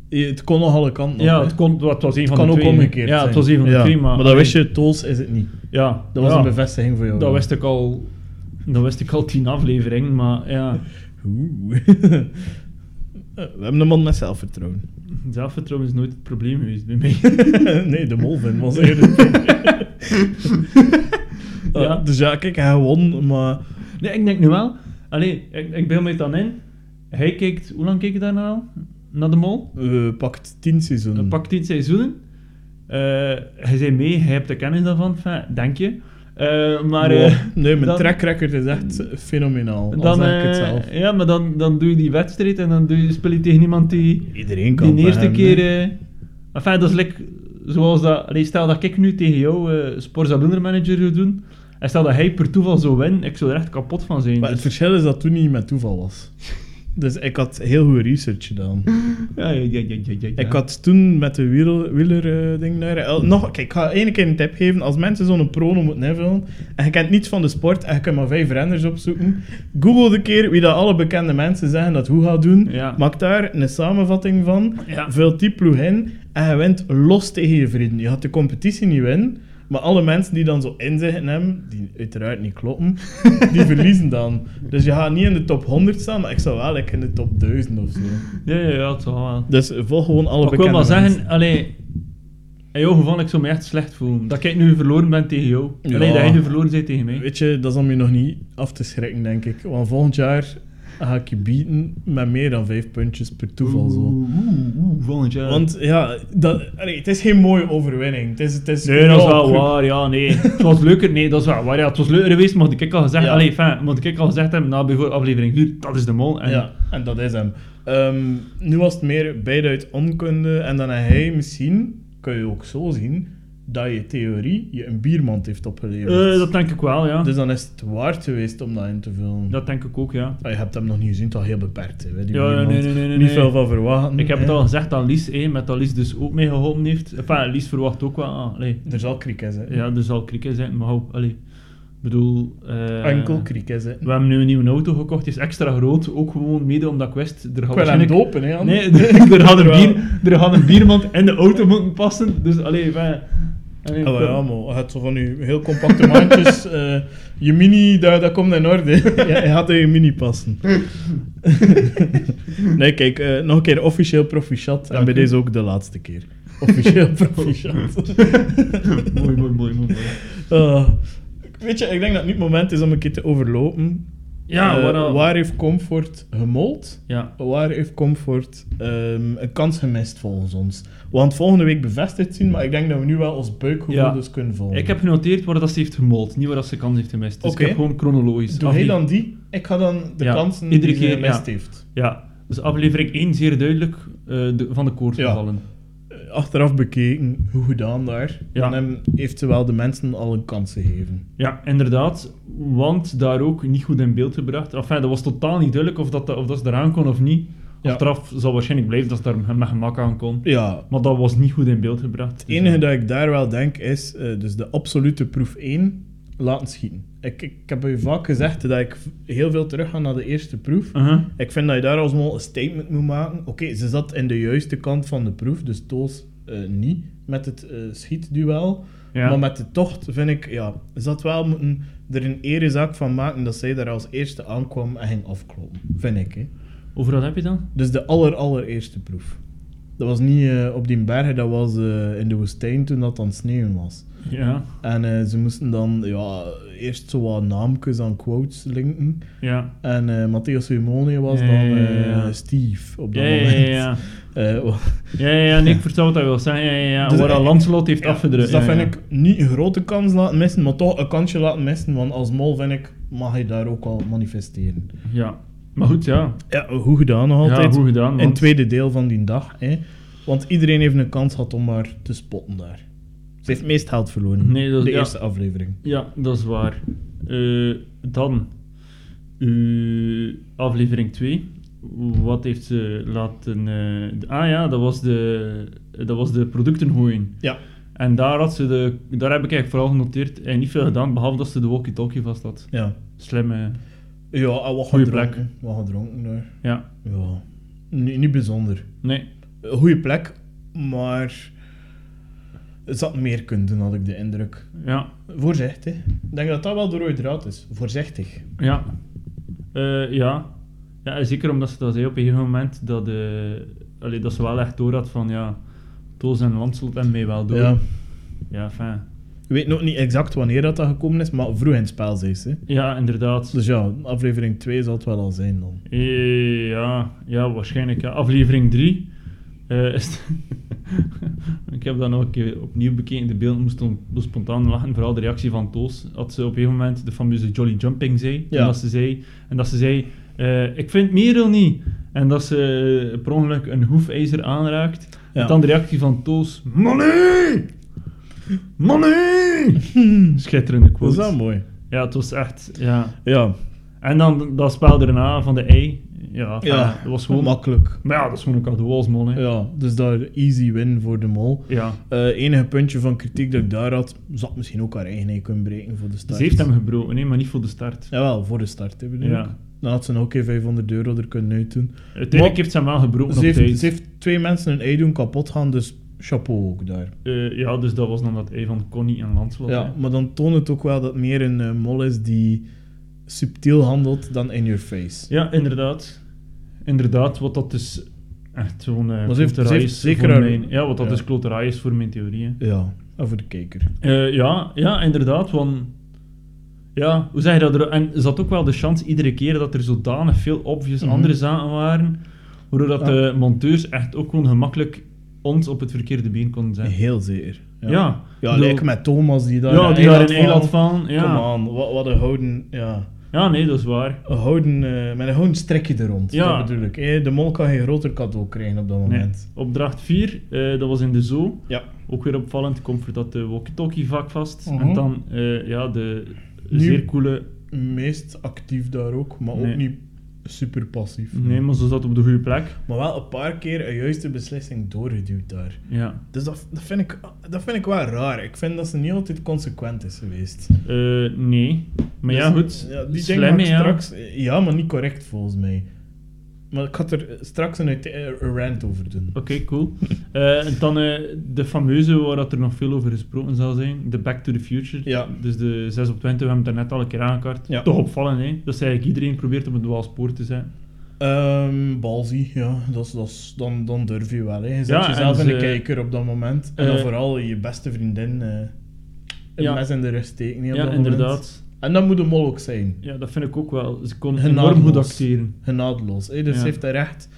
Speaker 1: Je- Het kon nog alle kanten op,
Speaker 2: Ja,
Speaker 1: hè.
Speaker 2: het, kon, het was een van
Speaker 1: kan
Speaker 2: de
Speaker 1: ook
Speaker 2: twee.
Speaker 1: omgekeerd
Speaker 2: Ja,
Speaker 1: zijn.
Speaker 2: het was een van de
Speaker 1: Ja,
Speaker 2: twee, maar...
Speaker 1: Maar dat wist je, Tools is het niet.
Speaker 2: Ja.
Speaker 1: Dat was
Speaker 2: ja.
Speaker 1: een bevestiging voor jou.
Speaker 2: Dat wist ik al. Dat wist ik al tien afleveringen, maar ja.
Speaker 1: Oeh. <laughs> We hebben een man met
Speaker 2: <laughs>
Speaker 1: zelfvertrouwen.
Speaker 2: Zelfvertrouwen is nooit het probleem geweest bij <laughs> mij.
Speaker 1: nee, de molvin was eerder het <laughs> probleem.
Speaker 2: Ja.
Speaker 1: Ah, Dus ja, kijk, hij won, maar...
Speaker 2: Nee, ik denk nu wel. Allee, ik, ik beeld me het dan in. Hij kijkt, hoe lang keek je daarna al? Naar de mol?
Speaker 1: eh, pakt tien seizoenen.
Speaker 2: Hij pakt tien seizoenen. Eh, hij zei mee, hij hebt de kennis daarvan, enfin, denk je. Eh, maar...
Speaker 1: Wow.
Speaker 2: eh,
Speaker 1: nee, mijn
Speaker 2: dan-
Speaker 1: track record is echt fenomenaal. Dan,
Speaker 2: Dan,
Speaker 1: zeg ik het
Speaker 2: eh,
Speaker 1: zelf.
Speaker 2: ja, maar dan, dan doe je die wedstrijd en dan doe je, speel je tegen iemand die...
Speaker 1: Iedereen kan
Speaker 2: Die de eerste
Speaker 1: hem, hè.
Speaker 2: keer... eh enfin, dat is like, zoals dat... allee, stel dat ik nu tegen jou eh Sports en Manager zou doen, en stel dat hij per toeval zou winnen, ik zou er echt kapot van zijn.
Speaker 1: Maar het
Speaker 2: Dus-
Speaker 1: verschil is dat toen niet met toeval was. Dus ik had heel goed research gedaan.
Speaker 2: ja, ja, ja, ja, ja, ja, ja.
Speaker 1: Ik had toen met de wieler, wieler eh, ding naar... eh, nog, kijk, ik ga één keer een tip geven. Als mensen zo'n prono moeten invullen en je kent niets van de sport en je kunt maar vijf renners opzoeken, google de keer wie dat alle bekende mensen zeggen dat hoe gaat doen.
Speaker 2: Ja.
Speaker 1: Maak daar een samenvatting van.
Speaker 2: Ja.
Speaker 1: Vul die ploeg in en je wint los tegen je vrienden. Je gaat de competitie niet winnen, maar alle mensen die dan zo inzichten hebben, die uiteraard niet kloppen, <laughs> die verliezen dan. Dus je gaat niet in de top 100 staan, maar ik zou wel like, in de top 1000 of zo.
Speaker 2: Ja, ja, ja, het zal wel.
Speaker 1: Dus volg gewoon alle
Speaker 2: Maar ik wil
Speaker 1: bekende
Speaker 2: maar
Speaker 1: mensen.
Speaker 2: zeggen, allee... In jouw geval, ik zou me echt slecht voelen. Dat ik nu verloren ben tegen jou.
Speaker 1: Ja.
Speaker 2: Allee, dat jij nu verloren bent tegen mij.
Speaker 1: Weet je, dat is om je nog niet af te schrikken, denk ik. Want volgend jaar ga ik je bieden met meer dan vijf puntjes per toeval. Zo.
Speaker 2: Oeh, oeh, oeh, volgend jaar.
Speaker 1: Want ja, dat, allee, het is geen mooie overwinning. Het is, het is
Speaker 2: Nee, dat is wel
Speaker 1: goed.
Speaker 2: waar, ja, nee. het was leuker, nee, dat is wel waar, ja. Het was leuker geweest, mocht ik al gezegd,
Speaker 1: Ja.
Speaker 2: allee, fijn, mocht ik al gezegd hebben, na bijvoorbeeld aflevering 4, dat is de mol. En
Speaker 1: Ja, en dat is hem. Ehm, nu was het meer beide uit onkunde. En dan heb hij misschien, kun je ook zo zien, dat je theorie je een biermand heeft
Speaker 2: eh,
Speaker 1: opgeleverd.
Speaker 2: dat denk ik wel, ja.
Speaker 1: Dus dan is het waard geweest om dat in te vullen.
Speaker 2: Dat denk ik ook, ja.
Speaker 1: Ah, je hebt hem nog niet gezien, toch heel beperkt. Hè, die
Speaker 2: Ja, ja,
Speaker 1: biermand.
Speaker 2: nee, nee, nee, nee,
Speaker 1: Niet
Speaker 2: nee.
Speaker 1: veel van verwachten.
Speaker 2: Ik heb
Speaker 1: hè.
Speaker 2: het al gezegd dat Lies, eh, met dat Lies dus ook meegeholpen heeft. Enfin, Lies verwacht ook wel, ah, allee.
Speaker 1: Er zal krieken zijn.
Speaker 2: Ja, dus, er zal krieken zijn, maar hou, allee. Ik bedoel... eh,
Speaker 1: Enkel krieken zijn.
Speaker 2: We hebben nu een nieuwe auto gekocht, die is extra groot. Ook gewoon mede omdat ik wist, er gaat
Speaker 1: Ik wil hem
Speaker 2: waarschijnlijk...
Speaker 1: dopen, hè, Jan.
Speaker 2: Nee, <laughs> er, er
Speaker 1: <laughs>
Speaker 2: had een,
Speaker 1: Terwijl-
Speaker 2: bier, er had een biermand en de auto moeten passen. Dus alleen van.
Speaker 1: Ah, wel, ja, maar je hebt zo van je heel compacte
Speaker 2: <laughs>
Speaker 1: mandjes. eh, je mini, dat, dat komt in orde. ja, je had in je mini passen. <laughs> nee, kijk, eh, nog een keer officieel proficiat. En
Speaker 2: Dank
Speaker 1: bij
Speaker 2: u.
Speaker 1: deze ook de laatste keer.
Speaker 2: <laughs>
Speaker 1: Officieel <laughs> proficiat.
Speaker 2: mooi, mooi, mooi, mooi.
Speaker 1: Ah, weet je, ik denk dat het nu het moment is om een keer te overlopen.
Speaker 2: Ja,
Speaker 1: Eh,
Speaker 2: waar al-
Speaker 1: waar heeft Comfort gemold?
Speaker 2: Ja.
Speaker 1: Waar heeft Comfort ehm, een kans gemist volgens ons? Want volgende week bevestigd zien, maar ik denk dat we nu wel ons buikgevoel
Speaker 2: Ja.
Speaker 1: dus kunnen volgen.
Speaker 2: Ik heb genoteerd waar dat ze heeft gemold, niet waar dat ze kans heeft gemist. Dus
Speaker 1: Oké.
Speaker 2: ik heb gewoon chronologisch.
Speaker 1: Doe hij
Speaker 2: afle-
Speaker 1: dan die? Ik ga dan de
Speaker 2: Ja,
Speaker 1: kansen
Speaker 2: iedere
Speaker 1: die ze
Speaker 2: keer, ja.
Speaker 1: gemist heeft.
Speaker 2: Ja, dus aflevering 1 zeer duidelijk eh, de- van de koord
Speaker 1: Ja.
Speaker 2: gevallen.
Speaker 1: eh, Achteraf bekeken, hoe gedaan daar.
Speaker 2: Ja.
Speaker 1: En hem heeft ze wel de mensen al een kans gegeven.
Speaker 2: Ja, inderdaad. Want daar ook niet goed in beeld gebracht. Enfin, dat was totaal niet duidelijk of dat, of dat ze eraan kon of niet.
Speaker 1: Ja.
Speaker 2: Achteraf zal waarschijnlijk blijven dat ze daar met gemak aan kon.
Speaker 1: Ja,
Speaker 2: Maar dat was niet goed in beeld gebracht.
Speaker 1: Het enige dat ik daar wel denk is, eh, dus de absolute proef 1, laten schieten. Ik, ik heb u vaak gezegd dat ik v- heel veel terug ga naar de eerste proef.
Speaker 2: Uh-huh.
Speaker 1: Ik vind dat je daar alsmaar een statement moet maken. Oké, ze zat in de juiste kant van de proef, dus Toos eh, niet met het eh, schietduel.
Speaker 2: Ja.
Speaker 1: Maar met de tocht vind ik, ja, ze had wel moeten er een erezaak van maken dat zij daar als eerste aankwam en ging afkloppen. Vind ik, hè.
Speaker 2: Over wat heb je dan?
Speaker 1: Dus de aller, allereerste proef. Dat was niet eh, op die bergen, dat was eh, in de woestijn toen dat aan het sneeuwen was.
Speaker 2: Ja,
Speaker 1: En eh, ze moesten dan ja, eerst zo wat naamjes aan quotes linken.
Speaker 2: ja.
Speaker 1: En eh Matthias Simone was
Speaker 2: Ja,
Speaker 1: dan
Speaker 2: ja, ja,
Speaker 1: eh,
Speaker 2: ja.
Speaker 1: Steve op
Speaker 2: Ja,
Speaker 1: dat
Speaker 2: ja,
Speaker 1: moment.
Speaker 2: ja, ja.
Speaker 1: <laughs> Eh, wa-
Speaker 2: Ja, ja, ja, nee, ik vertel wat hij wil zeggen. Ja, ja, ja.
Speaker 1: Dus
Speaker 2: Waar
Speaker 1: ik-
Speaker 2: al Lancelot heeft
Speaker 1: ja,
Speaker 2: afgedrukt.
Speaker 1: Dus dat
Speaker 2: ja,
Speaker 1: vind
Speaker 2: ja.
Speaker 1: ik niet een grote kans laten missen, maar toch een kansje laten missen. Want als mol vind ik, mag je daar ook al manifesteren.
Speaker 2: Ja. Maar goed, ja.
Speaker 1: Ja, hoe gedaan nog altijd.
Speaker 2: goed gedaan,
Speaker 1: In
Speaker 2: want-
Speaker 1: het tweede deel van die dag. Hè. Want iedereen heeft een kans gehad om haar te spotten daar. Ze heeft het meest geld verloren.
Speaker 2: Nee, dat-
Speaker 1: de
Speaker 2: ja.
Speaker 1: eerste aflevering.
Speaker 2: Ja, dat is waar. Eh, dan, uw aflevering 2. Wat heeft ze laten... eh, d- ah ja, dat was, de, dat was de producten gooien.
Speaker 1: Ja.
Speaker 2: En daar, had ze de, daar heb ik eigenlijk vooral genoteerd. En niet veel gedaan, behalve dat ze de walkie-talkie vast had.
Speaker 1: Ja.
Speaker 2: Slim, eh,
Speaker 1: Ja, en wat
Speaker 2: Goeie
Speaker 1: gedronken. Wat gedronken daar.
Speaker 2: ja.
Speaker 1: Ja. Ni- niet bijzonder.
Speaker 2: Nee,
Speaker 1: Een Goeie plek, maar... Het zat meer kunnen doen, had ik de indruk.
Speaker 2: ja.
Speaker 1: Voorzichtig. Ik denk dat dat wel de rode draad is. Voorzichtig.
Speaker 2: Ja. Eh, ja. ja. Zeker omdat ze dat zei op een gegeven moment dat, eh, allee, dat ze wel echt door had van ja, Toos en Lancelot en mij wel door.
Speaker 1: Ja.
Speaker 2: Ja, fijn.
Speaker 1: Ik weet nog niet exact wanneer dat, dat gekomen is, maar vroeg in het spel zei ze.
Speaker 2: Ja, inderdaad.
Speaker 1: Dus ja, aflevering 2 zal het wel al zijn
Speaker 2: <laughs>
Speaker 1: dan.
Speaker 2: Eh, ja, ja, waarschijnlijk. Ja. Aflevering 3. <laughs> ik heb dat nog een keer opnieuw bekeken. De beelden moesten moest spontaan lachen. Vooral de reactie van Toos. Had ze op een gegeven moment de fameuze Jolly Jumping zei.
Speaker 1: Ja.
Speaker 2: En dat ze zei, en dat ze zei eh, ik vind Merel niet. En dat ze eh, per ongeluk een hoefijzer aanraakt.
Speaker 1: Ja.
Speaker 2: En dan de reactie van Toos. Money!
Speaker 1: <laughs>
Speaker 2: Money! Schitterende
Speaker 1: Dat is
Speaker 2: quote.
Speaker 1: wel mooi.
Speaker 2: Ja, het was echt... Ja.
Speaker 1: Ja,
Speaker 2: En dan dat spel erna van de ei. Ja,
Speaker 1: ja
Speaker 2: dat was gewoon...
Speaker 1: makkelijk.
Speaker 2: Maar ja, dat is gewoon een cadeau als man, hè. Ja.
Speaker 1: Ja, dus daar easy win voor de mol.
Speaker 2: ja.
Speaker 1: Eh enige puntje van kritiek dat ik daar had, zat misschien ook haar eigen ei kunnen breken voor de start.
Speaker 2: Ze heeft hem gebroken, nee, maar niet voor de start.
Speaker 1: Jawel, voor de start hè, bedoel
Speaker 2: Ja.
Speaker 1: ik. Dan had ze nog een keer 500 euro er kunnen uit doen.
Speaker 2: Uiteindelijk
Speaker 1: Maar-
Speaker 2: heeft ze hem wel gebroken
Speaker 1: Ze
Speaker 2: op tijd.
Speaker 1: heeft, ze heeft twee mensen hun ei doen kapot gaan, dus chapeau ook daar.
Speaker 2: Eh, ja, dus dat was dan dat ei van Connie en Lancelot.
Speaker 1: Ja,
Speaker 2: hè.
Speaker 1: maar dan toont het ook wel dat het meer een eh, mol is die subtiel handelt dan in your face.
Speaker 2: ja, inderdaad. Inderdaad, wat dat dus... Echt zo'n eh
Speaker 1: Maar ze heeft- ze heeft
Speaker 2: kloterij is
Speaker 1: zeker
Speaker 2: voor
Speaker 1: haar-
Speaker 2: mijn... Ja, want dat
Speaker 1: ja.
Speaker 2: is kloterij is voor mijn theorie. hè.
Speaker 1: Ja, en voor de kijker.
Speaker 2: Eh, ja, ja, inderdaad, want... Ja, hoe zeg je dat? Er, en er zat ook wel de chance iedere keer dat er zodanig veel obvious
Speaker 1: Mhm.
Speaker 2: andere zaken waren, waardoor dat
Speaker 1: Ja.
Speaker 2: de monteurs echt ook gewoon gemakkelijk ons op het verkeerde been konden zetten.
Speaker 1: Heel zeer.
Speaker 2: Ja.
Speaker 1: ja.
Speaker 2: Ja,
Speaker 1: Ja,
Speaker 2: bedoel-
Speaker 1: lijken met Thomas die daar
Speaker 2: ja, die daar in
Speaker 1: Engeland
Speaker 2: Engeland van.
Speaker 1: Kom
Speaker 2: Ja.
Speaker 1: aan, wat, wat een houden, ja,
Speaker 2: ja, nee, dat is waar.
Speaker 1: een houden, eh, met een houden strekje er rond,
Speaker 2: Ja.
Speaker 1: dat bedoel ik. Eh, De mol kan geen groter cadeau krijgen op dat
Speaker 2: Nee.
Speaker 1: moment.
Speaker 2: Opdracht 4, eh, dat was in de zoo.
Speaker 1: Ja.
Speaker 2: Ook weer opvallend, komt voor dat de walkie-talkie vak vast.
Speaker 1: Mhm.
Speaker 2: En dan eh, ja, de
Speaker 1: Nu-
Speaker 2: zeer coole...
Speaker 1: Meest actief daar ook, maar
Speaker 2: Nee.
Speaker 1: ook niet super passief.
Speaker 2: Nee, maar ze zat op de goede plek.
Speaker 1: Maar wel een paar keer een juiste beslissing doorgeduwd daar.
Speaker 2: Ja.
Speaker 1: Dus dat, dat, vind ik, dat vind ik wel raar. Ik vind dat ze niet altijd consequent is geweest.
Speaker 2: Eh, nee. Maar ja,
Speaker 1: Dus,
Speaker 2: goed.
Speaker 1: ja, die
Speaker 2: Slim,
Speaker 1: dingen maak ik
Speaker 2: ja.
Speaker 1: straks... Ja, maar niet correct volgens mij. Maar ik had er straks een, uite- een rant over doen.
Speaker 2: Oké, cool. Eh, en dan eh, de fameuze, waar dat er nog veel over gesproken zal zijn, de Back to the Future.
Speaker 1: Ja.
Speaker 2: Dus de 6 op 20, we hebben het daarnet al een keer aangekaart.
Speaker 1: Ja.
Speaker 2: Toch opvallend, hè? Dat is eigenlijk iedereen probeert op een duaal spoor te zijn.
Speaker 1: Ehm balzie, ja. Dat is, dat is- dan, dan durf je wel. Hè. Je zet
Speaker 2: Ja, en
Speaker 1: jezelf in de
Speaker 2: ze-
Speaker 1: kijker op dat moment. En dan
Speaker 2: Eh,
Speaker 1: vooral je beste vriendin eh een
Speaker 2: Ja.
Speaker 1: mes in de rust steken. hè, op
Speaker 2: Ja,
Speaker 1: dat moment.
Speaker 2: inderdaad.
Speaker 1: En dat moet een mol ook zijn.
Speaker 2: Ja, dat vind ik ook wel. Ze kon
Speaker 1: Genadeloos.
Speaker 2: enorm goed acteren.
Speaker 1: Genadeloos. Hè. Dus
Speaker 2: Ja.
Speaker 1: ze heeft daar echt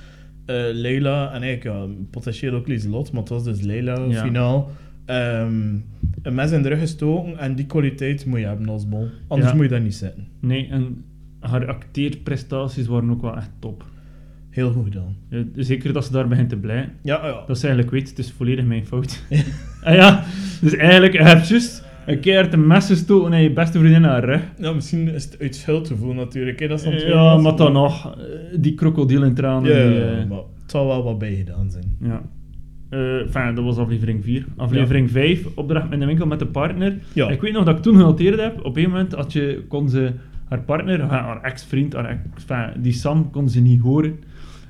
Speaker 1: eh, Leila en eigenlijk ja, potentieel ook Lieselot, maar het was dus Leila
Speaker 2: Ja.
Speaker 1: finaal. ehm, een mes in de rug gestoken en die kwaliteit moet je hebben als mol. Anders
Speaker 2: Ja.
Speaker 1: moet je dat niet zetten.
Speaker 2: Nee, en haar acteerprestaties waren ook wel echt top.
Speaker 1: Heel goed gedaan.
Speaker 2: Eh, zeker dat ze daar begint te blijven.
Speaker 1: Ja, ja.
Speaker 2: Dat ze eigenlijk weet, het is volledig mijn fout. <laughs> ah ja, dus eigenlijk je hebt juist een keer de mes gestoken naar je beste vriendin aan haar rug.
Speaker 1: ja, misschien is het uit schuldgevoel natuurlijk. Hè. Dat is dan twee
Speaker 2: Ja,
Speaker 1: mensen,
Speaker 2: maar dan nog. eh, Die krokodil in tranen.
Speaker 1: Ja,
Speaker 2: die,
Speaker 1: ja, ja,
Speaker 2: eh,
Speaker 1: maar het zal wel wat bij gedaan zijn.
Speaker 2: ja. Eh, Enfin, dat was aflevering 4. Aflevering 5, opdracht in de winkel met de partner.
Speaker 1: Ja.
Speaker 2: Ik weet nog dat ik toen genoteerd heb. Op een moment had je, kon ze haar partner, haar, haar ex-vriend, haar ex- enfin, die Sam, kon ze niet horen.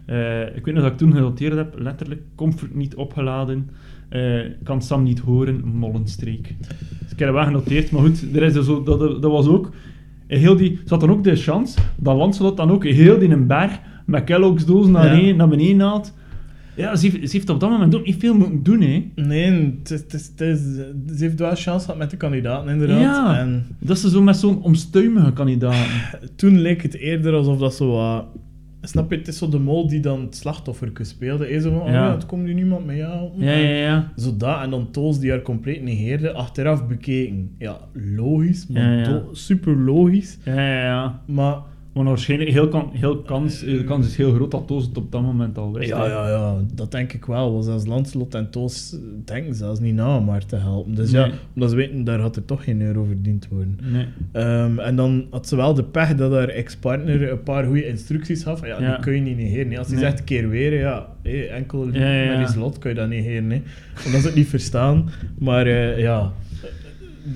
Speaker 2: Eh, ik weet nog dat ik toen genoteerd heb, letterlijk, comfort niet opgeladen, eh, kan Sam niet horen, mollenstreek. Dus ik heb dat wel genoteerd, maar goed, er is dus ook, dat, dat was ook, en heel die, zat dan ook de chance dat Lancelot dan ook heel die een berg met Kellogg's dozen naar,
Speaker 1: Ja.
Speaker 2: beneden- naar beneden haalt. Ja, ze heeft, ze heeft op dat moment ook niet veel moeten doen, hè.
Speaker 1: Nee, het is, het is, het is- ze heeft wel chance gehad met de kandidaten, inderdaad.
Speaker 2: Ja.
Speaker 1: En
Speaker 2: Dat ze zo met zo'n omstuimige kandidaat.
Speaker 1: toen leek het eerder alsof dat zo wat... Snap je, het is zo de mol die dan het slachtofferke speelde. Is zo van, oh
Speaker 2: Ja.
Speaker 1: ja, het komt nu niemand met jou.
Speaker 2: Ja, ja, ja.
Speaker 1: Zo dat, en dan Toos die haar compleet negeerde, achteraf bekeken. Ja, logisch, maar
Speaker 2: Ja, ja.
Speaker 1: do- super logisch.
Speaker 2: Ja, ja, ja.
Speaker 1: Maar
Speaker 2: Maar waarschijnlijk, heel kan, heel kans, eh, de kans is heel groot dat Toos het op dat moment al wist.
Speaker 1: ja,
Speaker 2: hè.
Speaker 1: ja, ja, dat denk ik wel. Want zelfs Lanslot en Toos denken zelfs niet na om haar te helpen. Dus ja,
Speaker 2: Nee.
Speaker 1: omdat ze weten, daar had er toch geen euro verdiend worden.
Speaker 2: Nee.
Speaker 1: Ehm, en dan had ze wel de pech dat haar ex-partner een paar goede instructies gaf. Ja,
Speaker 2: Ja.
Speaker 1: die kun je niet negeren. hè. Als hij
Speaker 2: Nee.
Speaker 1: zegt keer weer, ja, hé, enkel
Speaker 2: Ja, ja, ja.
Speaker 1: met die slot kun je dat negeren. Hè. Omdat ze het niet verstaan. Maar eh, ja,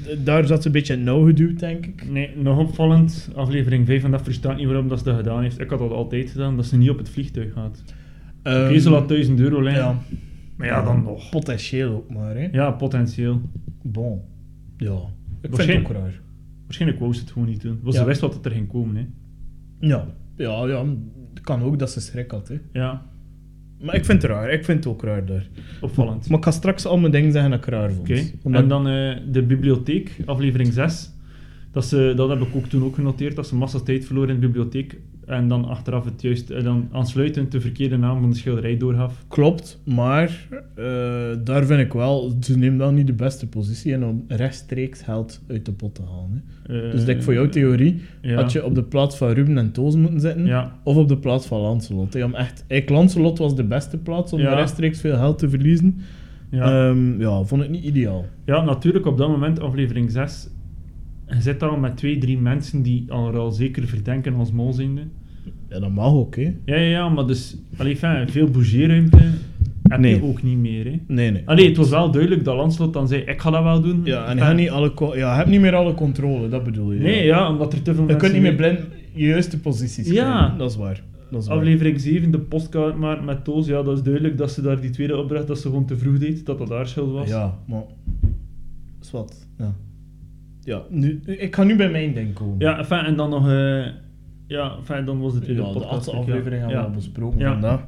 Speaker 1: D- daar zat ze een beetje in het nauw geduwd, denk ik.
Speaker 2: Nee, nog opvallend, aflevering 5, en dat verstaat niet waarom dat ze dat gedaan heeft. Ik had dat altijd gedaan, dat ze niet op het vliegtuig gaat.
Speaker 1: Ehm,
Speaker 2: Oké, ze laat 1000 euro liggen.
Speaker 1: ja,
Speaker 2: Maar ja, dan nog.
Speaker 1: Potentieel ook maar. Hè.
Speaker 2: Ja, potentieel.
Speaker 1: Bon. Ja, ik vind het
Speaker 2: Waarschijn-
Speaker 1: ook raar.
Speaker 2: Waarschijnlijk wou ze het gewoon niet doen. Want
Speaker 1: Ja.
Speaker 2: ze wist wat dat er ging komen, hè.
Speaker 1: Ja, ja, ja. Het kan ook dat ze schrik had. Hè.
Speaker 2: Ja,
Speaker 1: Maar ik vind het raar. Ik vind het ook raar daar.
Speaker 2: opvallend.
Speaker 1: Maar ik ga straks al mijn dingen zeggen dat ik raar vond.
Speaker 2: Oké,
Speaker 1: Omdat-
Speaker 2: en dan eh, de bibliotheek, aflevering 6. Dat, ze, dat heb ik ook toen ook genoteerd, dat ze massa tijd verloren in de bibliotheek. En dan achteraf het juist, en dan aansluitend de verkeerde naam van de schilderij doorgaf.
Speaker 1: Klopt, maar eh, daar vind ik wel, ze neemt wel niet de beste positie in om rechtstreeks geld uit de pot te halen. Hè.
Speaker 2: Eh,
Speaker 1: Dus ik denk voor jouw theorie
Speaker 2: ja.
Speaker 1: had je op de plaats van Ruben en Toos moeten zitten,
Speaker 2: Ja.
Speaker 1: of op de plaats van Lancelot. Hè. Om echt, eigenlijk Lancelot was de beste plaats om
Speaker 2: Ja.
Speaker 1: rechtstreeks veel geld te verliezen.
Speaker 2: Ja.
Speaker 1: Ehm, ja, vond ik niet ideaal.
Speaker 2: Ja, natuurlijk op dat moment, aflevering 6. Je zit al met twee, drie mensen die al, al zeker verdenken als mol zijnde.
Speaker 1: Ja, dat mag ook, hè.
Speaker 2: Ja, ja, ja, maar dus, allee, fijn, veel bougeerruimte heb
Speaker 1: Nee.
Speaker 2: je ook niet meer. Hè.
Speaker 1: Nee, nee.
Speaker 2: Allee, Ah, het was wel duidelijk dat Lanslot dan zei: Ik ga dat wel doen.
Speaker 1: Ja, en je
Speaker 2: Enfin,
Speaker 1: hebt niet, alle co- ja, je hebt niet meer alle controle, dat bedoel je.
Speaker 2: Nee, ja, omdat er te veel
Speaker 1: Je
Speaker 2: mensen.
Speaker 1: kunt niet meer blind je juiste posities
Speaker 2: Ja.
Speaker 1: krijgen. Dat is waar. Dat is waar.
Speaker 2: Aflevering 7, de postkaart maar met Toos. Ja, dat is duidelijk dat ze daar die tweede opdracht dat ze gewoon te vroeg deed, dat dat haar schuld was.
Speaker 1: Ja, maar... Is wat. Ja. Ja, nu, ik ga nu bij mijn ding komen.
Speaker 2: ja enfin, en dan nog. eh, ja, enfin, dan was
Speaker 1: Ja,
Speaker 2: het tweede
Speaker 1: de
Speaker 2: podcast.
Speaker 1: laatste
Speaker 2: ja.
Speaker 1: aflevering hebben we
Speaker 2: ja.
Speaker 1: al besproken
Speaker 2: Ja.
Speaker 1: vandaag.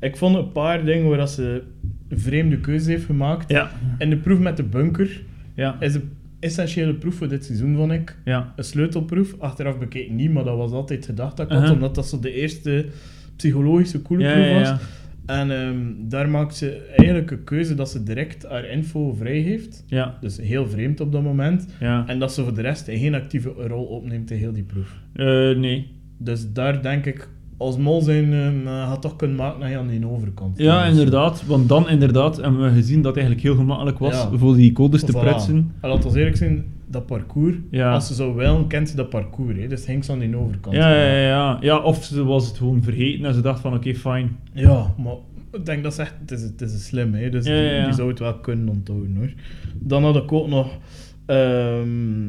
Speaker 1: Ik vond een paar dingen waar dat ze een vreemde keuze heeft gemaakt.
Speaker 2: Ja.
Speaker 1: En de proef met de bunker
Speaker 2: Ja.
Speaker 1: is een essentiële proef voor dit seizoen, vond ik.
Speaker 2: Ja.
Speaker 1: Een sleutelproef, achteraf bekeken niet, maar dat was altijd gedacht dat ik had,
Speaker 2: Uh-huh.
Speaker 1: omdat dat zo de eerste psychologische coole
Speaker 2: Ja,
Speaker 1: proef
Speaker 2: ja, ja.
Speaker 1: was. En ehm, daar maakt ze eigenlijk een keuze dat ze direct haar info vrij heeft.
Speaker 2: Ja.
Speaker 1: Dus heel vreemd op dat moment.
Speaker 2: ja.
Speaker 1: En dat ze voor de rest geen actieve rol opneemt in heel die proef.
Speaker 2: Eh, nee.
Speaker 1: Dus daar denk ik, als mol zijn, ehm had toch kunnen maken dat je aan die overkant
Speaker 2: Ja,
Speaker 1: komt.
Speaker 2: inderdaad. Want dan inderdaad hebben we gezien dat het eigenlijk heel gemakkelijk was
Speaker 1: Ja.
Speaker 2: voor die codes te
Speaker 1: Voilà.
Speaker 2: prutsen.
Speaker 1: En laat ons eerlijk zijn, dat parcours,
Speaker 2: Ja.
Speaker 1: als ze zo wel kent ze dat parcours, hè. dus het hing ze aan die overkant.
Speaker 2: Ja, ja, ja, ja. Ja, of ze was het gewoon vergeten en ze dacht van oké, fijn.
Speaker 1: Ja, maar ik denk dat ze echt, het is, het is een slim, hè? dus
Speaker 2: Ja,
Speaker 1: die,
Speaker 2: ja, ja.
Speaker 1: die zou het wel kunnen onthouden hoor. Dan had ik ook nog ehm,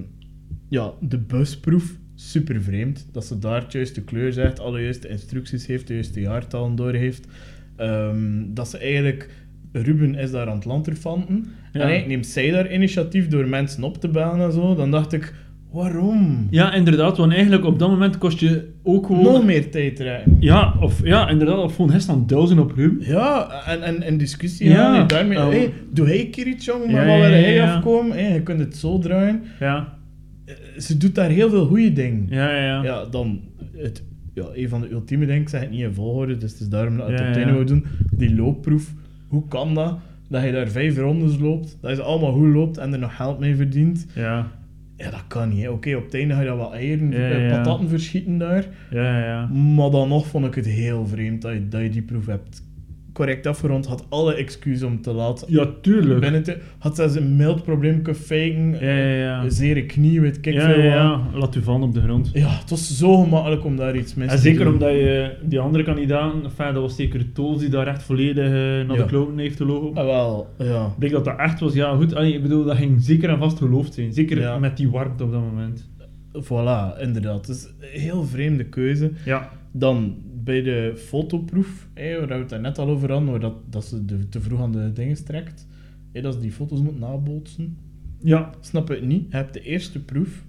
Speaker 1: ja, de busproef, super vreemd, dat ze daar het juiste kleur zegt, alle juiste instructies heeft, de juiste jaartallen door heeft. Ehm, dat ze eigenlijk, Ruben is daar aan het lanterfanten
Speaker 2: Ja.
Speaker 1: en eigenlijk neemt zij daar initiatief door mensen op te bellen en zo, dan dacht ik, waarom?
Speaker 2: Ja, inderdaad. Want eigenlijk op dat moment kost je ook gewoon...
Speaker 1: Nog meer tijd rijden.
Speaker 2: Ja, of, ja, inderdaad. Of gewoon hest aan duizend op Ruben.
Speaker 1: Ja, en, en, en discussie
Speaker 2: Ja.
Speaker 1: ja. gaan. Daarmee,
Speaker 2: Oh.
Speaker 1: hey, doe hij een keer iets, jongen, maar
Speaker 2: Ja,
Speaker 1: wat
Speaker 2: ja,
Speaker 1: wil
Speaker 2: ja,
Speaker 1: hij
Speaker 2: ja.
Speaker 1: afkomen? Hey, je kunt het zo draaien.
Speaker 2: Ja,
Speaker 1: Eh, Ze doet daar heel veel goede dingen. Ja,
Speaker 2: ja, ja. ja.
Speaker 1: dan het, ja, een van de ultieme dingen, ik zeg het niet in volgorde, dus het is daarom dat ik het
Speaker 2: Ja,
Speaker 1: op het
Speaker 2: ja.
Speaker 1: einde wou doen. Die loopproef, hoe kan dat? Dat je daar vijf rondes loopt, dat je ze allemaal goed loopt en er nog geld mee verdient.
Speaker 2: Ja,
Speaker 1: Ja, dat kan niet. hè. Oké, op het einde ga je dat wel eieren,
Speaker 2: Ja,
Speaker 1: eh,
Speaker 2: ja.
Speaker 1: patatten verschieten daar.
Speaker 2: ja, ja.
Speaker 1: Maar dan nog vond ik het heel vreemd dat je, dat je die proef hebt correct afgerond. Had alle excuses om te laat
Speaker 2: Ja, tuurlijk.
Speaker 1: binnen te... Had zelfs een mild probleem kunnen faken.
Speaker 2: Ja, ja, ja.
Speaker 1: Een zere knie, weet ik
Speaker 2: ja,
Speaker 1: veel
Speaker 2: ja,
Speaker 1: wat.
Speaker 2: ja. Laat u vallen op de grond.
Speaker 1: Ja, het was zo gemakkelijk om daar iets mis
Speaker 2: En
Speaker 1: te
Speaker 2: zeker
Speaker 1: doen.
Speaker 2: omdat je die andere kandidaat, enfin, dat was zeker Toos die daar echt volledig eh,
Speaker 1: Ja.
Speaker 2: naar de kloten heeft gelopen.
Speaker 1: Ah, wel, ja.
Speaker 2: Ik denk dat dat echt was, ja goed, allee, ik bedoel, dat ging zeker en vast geloofd zijn. Zeker
Speaker 1: Ja.
Speaker 2: met die warmte op dat moment.
Speaker 1: Voilà, inderdaad. Het is een heel vreemde keuze.
Speaker 2: Ja,
Speaker 1: Dan bij de fotoproef, hé, waar we het daar net al over hadden, waar dat, dat ze de, te vroeg aan de dingen strekt. Hé, dat ze die foto's moet nabootsen.
Speaker 2: ja,
Speaker 1: snap het niet. Je hebt de eerste proef.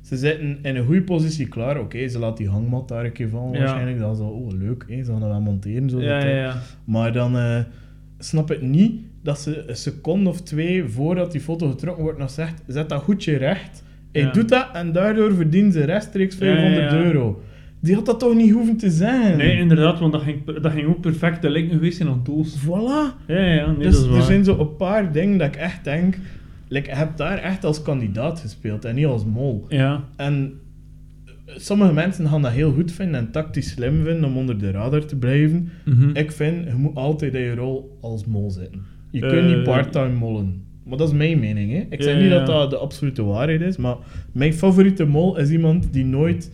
Speaker 1: Ze zitten in een goede positie klaar. Oké, ze laat die hangmat daar een keer vallen
Speaker 2: Ja.
Speaker 1: waarschijnlijk. Dan zo, oh leuk, hè. ze gaan dat wel monteren. Zo
Speaker 2: ja,
Speaker 1: dat,
Speaker 2: ja,
Speaker 1: eh.
Speaker 2: ja.
Speaker 1: Maar dan eh, snap het niet dat ze een seconde of twee voordat die foto getrokken wordt nog zegt, zet dat goedje recht. Hij
Speaker 2: Ja.
Speaker 1: doet dat en daardoor verdient ze rechtstreeks
Speaker 2: Ja, ja, ja.
Speaker 1: 500 euro. Die had dat toch niet hoeven te zijn?
Speaker 2: Nee, inderdaad, want dat ging, dat ging ook perfect de link geweest zijn aan Toos.
Speaker 1: Voilà.
Speaker 2: Ja, ja, ja, nee,
Speaker 1: dus
Speaker 2: dat is waar.
Speaker 1: er zijn zo een paar dingen dat ik echt denk... Like, je hebt daar echt als kandidaat gespeeld en niet als mol.
Speaker 2: Ja,
Speaker 1: En sommige mensen gaan dat heel goed vinden en tactisch slim vinden om onder de radar te blijven.
Speaker 2: Mhm.
Speaker 1: Ik vind, je moet altijd in je rol als mol zitten. Je
Speaker 2: Eh,
Speaker 1: kunt niet part-time mollen. Maar dat is mijn mening. Hè. Ik zeg
Speaker 2: Ja,
Speaker 1: niet
Speaker 2: ja,
Speaker 1: dat
Speaker 2: ja.
Speaker 1: dat de absolute waarheid is, maar mijn favoriete mol is iemand die nooit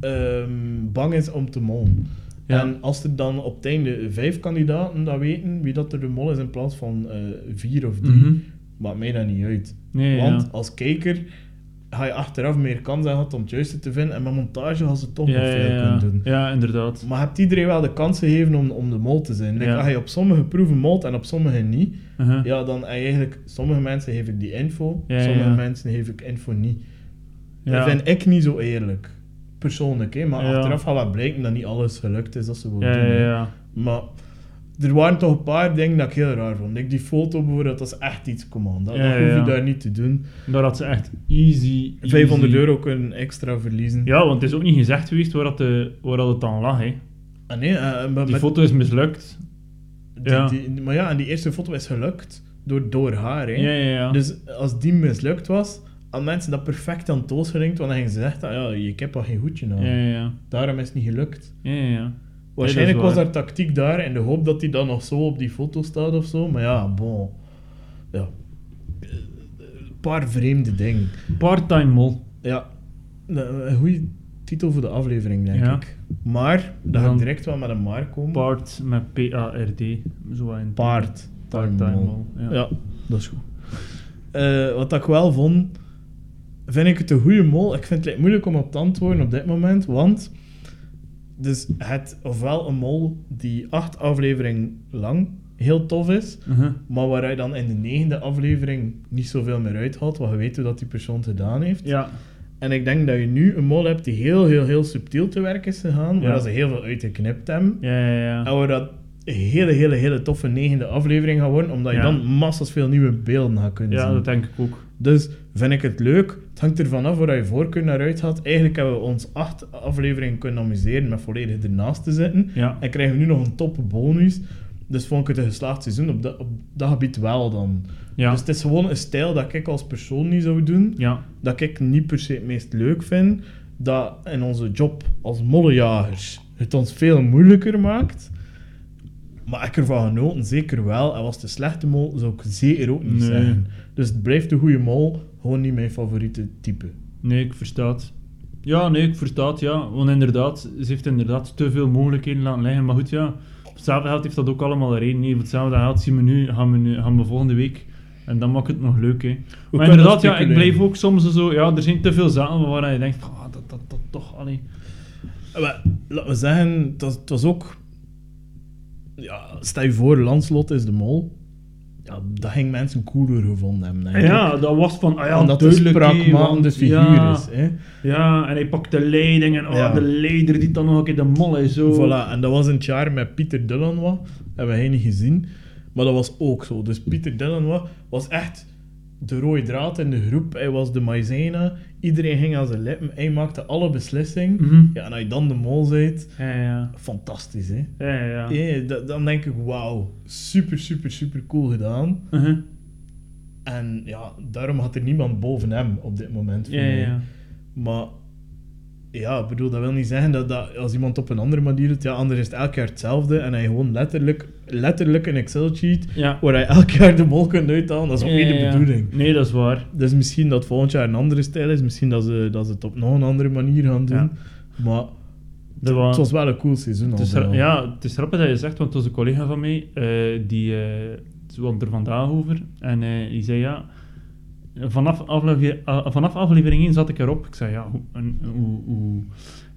Speaker 1: ehm, bang is om te mollen.
Speaker 2: Ja.
Speaker 1: En als er dan op het einde vijf kandidaten dat weten wie dat er de mol is in plaats van eh, vier of drie,
Speaker 2: Mhm.
Speaker 1: maakt mij dat niet uit.
Speaker 2: Nee,
Speaker 1: Want
Speaker 2: ja.
Speaker 1: als kijker ga je achteraf meer kans hebben om het juiste te vinden. En met montage had ze toch
Speaker 2: ja,
Speaker 1: nog
Speaker 2: ja,
Speaker 1: veel
Speaker 2: ja.
Speaker 1: kunnen doen.
Speaker 2: ja, inderdaad.
Speaker 1: Maar hebt iedereen wel de kans gegeven om, om de mol te zijn? Like,
Speaker 2: Ja.
Speaker 1: Als je op sommige proeven molt en op sommige niet,
Speaker 2: Uh-huh.
Speaker 1: ja, dan heb je eigenlijk... Sommige mensen geef ik die info,
Speaker 2: Ja,
Speaker 1: sommige
Speaker 2: ja.
Speaker 1: mensen geef ik info niet.
Speaker 2: Ja.
Speaker 1: Dat vind ik niet zo eerlijk. Persoonlijk, hè? maar
Speaker 2: Ja.
Speaker 1: achteraf gaat wel blijken dat niet alles gelukt is dat ze wil
Speaker 2: ja,
Speaker 1: doen.
Speaker 2: ja,
Speaker 1: hè.
Speaker 2: ja.
Speaker 1: Maar er waren toch een paar dingen dat ik heel raar vond. Like, die foto bijvoorbeeld, dat is echt iets, come on. Dat,
Speaker 2: Ja,
Speaker 1: dat hoef je
Speaker 2: ja.
Speaker 1: daar niet te doen.
Speaker 2: Daar had ze echt easy, easy-
Speaker 1: 500 euro kunnen extra verliezen.
Speaker 2: Ja, want het is ook niet gezegd geweest waar, dat de, waar dat het dan lag. Hè.
Speaker 1: Ah, nee, eh, maar,
Speaker 2: Die
Speaker 1: met
Speaker 2: foto is mislukt.
Speaker 1: die-
Speaker 2: ja.
Speaker 1: die- maar ja, en die eerste foto is gelukt door, door haar. Hè.
Speaker 2: Ja, ja, ja.
Speaker 1: Dus als die mislukt was, hadden mensen dat perfect aan Toos gelinkt, want dan gingen ze zeggen, ah, ja, ik heb al geen goedje nou.
Speaker 2: ja, ja, ja.
Speaker 1: Daarom is het niet gelukt.
Speaker 2: ja, ja, ja.
Speaker 1: Waarschijnlijk
Speaker 2: waar.
Speaker 1: was haar tactiek daar in de hoop dat hij dan nog zo op die foto staat of zo, maar ja, bon. Ja. Eh, Een paar vreemde dingen.
Speaker 2: Part-time mol.
Speaker 1: Ja, Eh, een een goede titel voor de aflevering, denk
Speaker 2: Ja.
Speaker 1: ik. Maar, dan ga
Speaker 2: Dan-
Speaker 1: ik direct wel met een maar komen.
Speaker 2: Part met P-A-R-D. Zo in
Speaker 1: Paard.
Speaker 2: Part-time mol. Ja.
Speaker 1: Ja, dat is goed. Eh, wat dat ik wel vond, vind ik het een goede mol. Ik vind het lijkt moeilijk om op te antwoorden op dit moment, want dus het ofwel een mol die acht afleveringen lang heel tof is,
Speaker 2: Uh-huh.
Speaker 1: maar waar je dan in de negende aflevering niet zoveel meer uit haalt, want je weet hoe dat die persoon het gedaan heeft.
Speaker 2: ja.
Speaker 1: En ik denk dat je nu een mol hebt die heel, heel, heel subtiel te werk is gegaan, waar
Speaker 2: Ja.
Speaker 1: ze heel veel uitgeknipt hebben.
Speaker 2: Ja, ja, ja.
Speaker 1: En waar dat een hele, hele, hele toffe negende aflevering gaat worden, omdat je
Speaker 2: Ja.
Speaker 1: dan massas veel nieuwe beelden gaat kunnen
Speaker 2: Ja,
Speaker 1: zien.
Speaker 2: dat denk ik ook.
Speaker 1: Dus vind ik het leuk. Het hangt ervan af waar je voorkeur naar uit had. Eigenlijk hebben we ons acht afleveringen kunnen amuseren met volledig ernaast te zitten.
Speaker 2: Ja.
Speaker 1: En krijgen we nu nog een top bonus. Dus vond ik het een geslaagd seizoen op dat, op dat gebied wel dan.
Speaker 2: Ja.
Speaker 1: Dus het is gewoon een stijl dat ik als persoon niet zou doen.
Speaker 2: Ja.
Speaker 1: Dat ik niet per se het meest leuk vind. Dat in onze job als mollenjagers het ons veel moeilijker maakt. Maar ik ervan genoten, zeker wel. En was het de slechte mol, zou ik zeker ook niet
Speaker 2: Nee.
Speaker 1: zeggen. Dus het blijft de goede mol, gewoon niet mijn favoriete type.
Speaker 2: Nee, ik versta het. Ja, nee, ik versta het, ja. Want inderdaad, ze heeft inderdaad te veel mogelijkheden laten liggen. Maar goed, ja. Op hetzelfde geld heeft dat ook allemaal een reden. Nee, op hetzelfde geld zien we nu, gaan we nu, gaan we volgende week. En dan maakt het nog leuk, hè. Maar
Speaker 1: kunnen
Speaker 2: inderdaad,
Speaker 1: dat
Speaker 2: ja, ik
Speaker 1: speculeren.
Speaker 2: blijf ook soms zo... Ja, er zijn te veel zaken waarvan je denkt, ah, dat, dat, dat, toch, allee.
Speaker 1: Eh, wel, Laten we zeggen, het was, het was ook... Ja, stel je voor, Lanslot is de mol. Ja, dat ging mensen cooler gevonden hebben, denk ik.
Speaker 2: Ja, dat was van, ah ja,
Speaker 1: Omdat het een
Speaker 2: duidelijk, hè, want-
Speaker 1: spraakmakende figuur
Speaker 2: ja,
Speaker 1: is. Hè.
Speaker 2: Ja, en hij pakt de leiding en oh,
Speaker 1: Ja.
Speaker 2: de leider die dan nog een keer de mol is, zo.
Speaker 1: Voilà, en dat was in het jaar met Pieter Dillenwa. Hebben we niet gezien. Maar dat was ook zo. Dus Pieter Dillenwa was echt de rode draad in de groep. Hij was de maizena. Iedereen ging aan zijn lippen. Hij maakte alle beslissingen.
Speaker 2: Mhm.
Speaker 1: Ja, en als je dan de mol bent,
Speaker 2: Ja, ja,
Speaker 1: fantastisch hè.
Speaker 2: ja. ja, ja.
Speaker 1: Ja, da- dan denk ik, wauw, super, super, super cool gedaan.
Speaker 2: Mhm.
Speaker 1: En ja, daarom had er niemand boven hem op dit moment. voor
Speaker 2: Ja, ja,
Speaker 1: mij.
Speaker 2: ja.
Speaker 1: Maar ja, ik bedoel, dat wil niet zeggen dat, dat als iemand op een andere manier doet, ja, anders is het elk jaar hetzelfde. En hij gewoon letterlijk, letterlijk een Excel-sheet
Speaker 2: Ja.
Speaker 1: waar hij elk jaar de mol kunt uithalen. Dat is ook
Speaker 2: Ja,
Speaker 1: niet
Speaker 2: ja,
Speaker 1: de
Speaker 2: ja.
Speaker 1: bedoeling.
Speaker 2: Nee, dat is waar.
Speaker 1: Dus misschien dat volgend jaar een andere stijl is. Misschien dat ze, dat ze het op nog een andere manier gaan doen.
Speaker 2: Ja.
Speaker 1: Maar
Speaker 2: Dat wa-
Speaker 1: het was wel een cool seizoen.
Speaker 2: het is
Speaker 1: al bij
Speaker 2: ra-
Speaker 1: al.
Speaker 2: ja, het is grappig dat je zegt, want het was een collega van mij, eh, die eh want er vandaag over, en eh, die zei ja, vanaf, aflever, ah, vanaf aflevering 1 zat ik erop. Ik zei ja, hoe, en- hoe, hoe-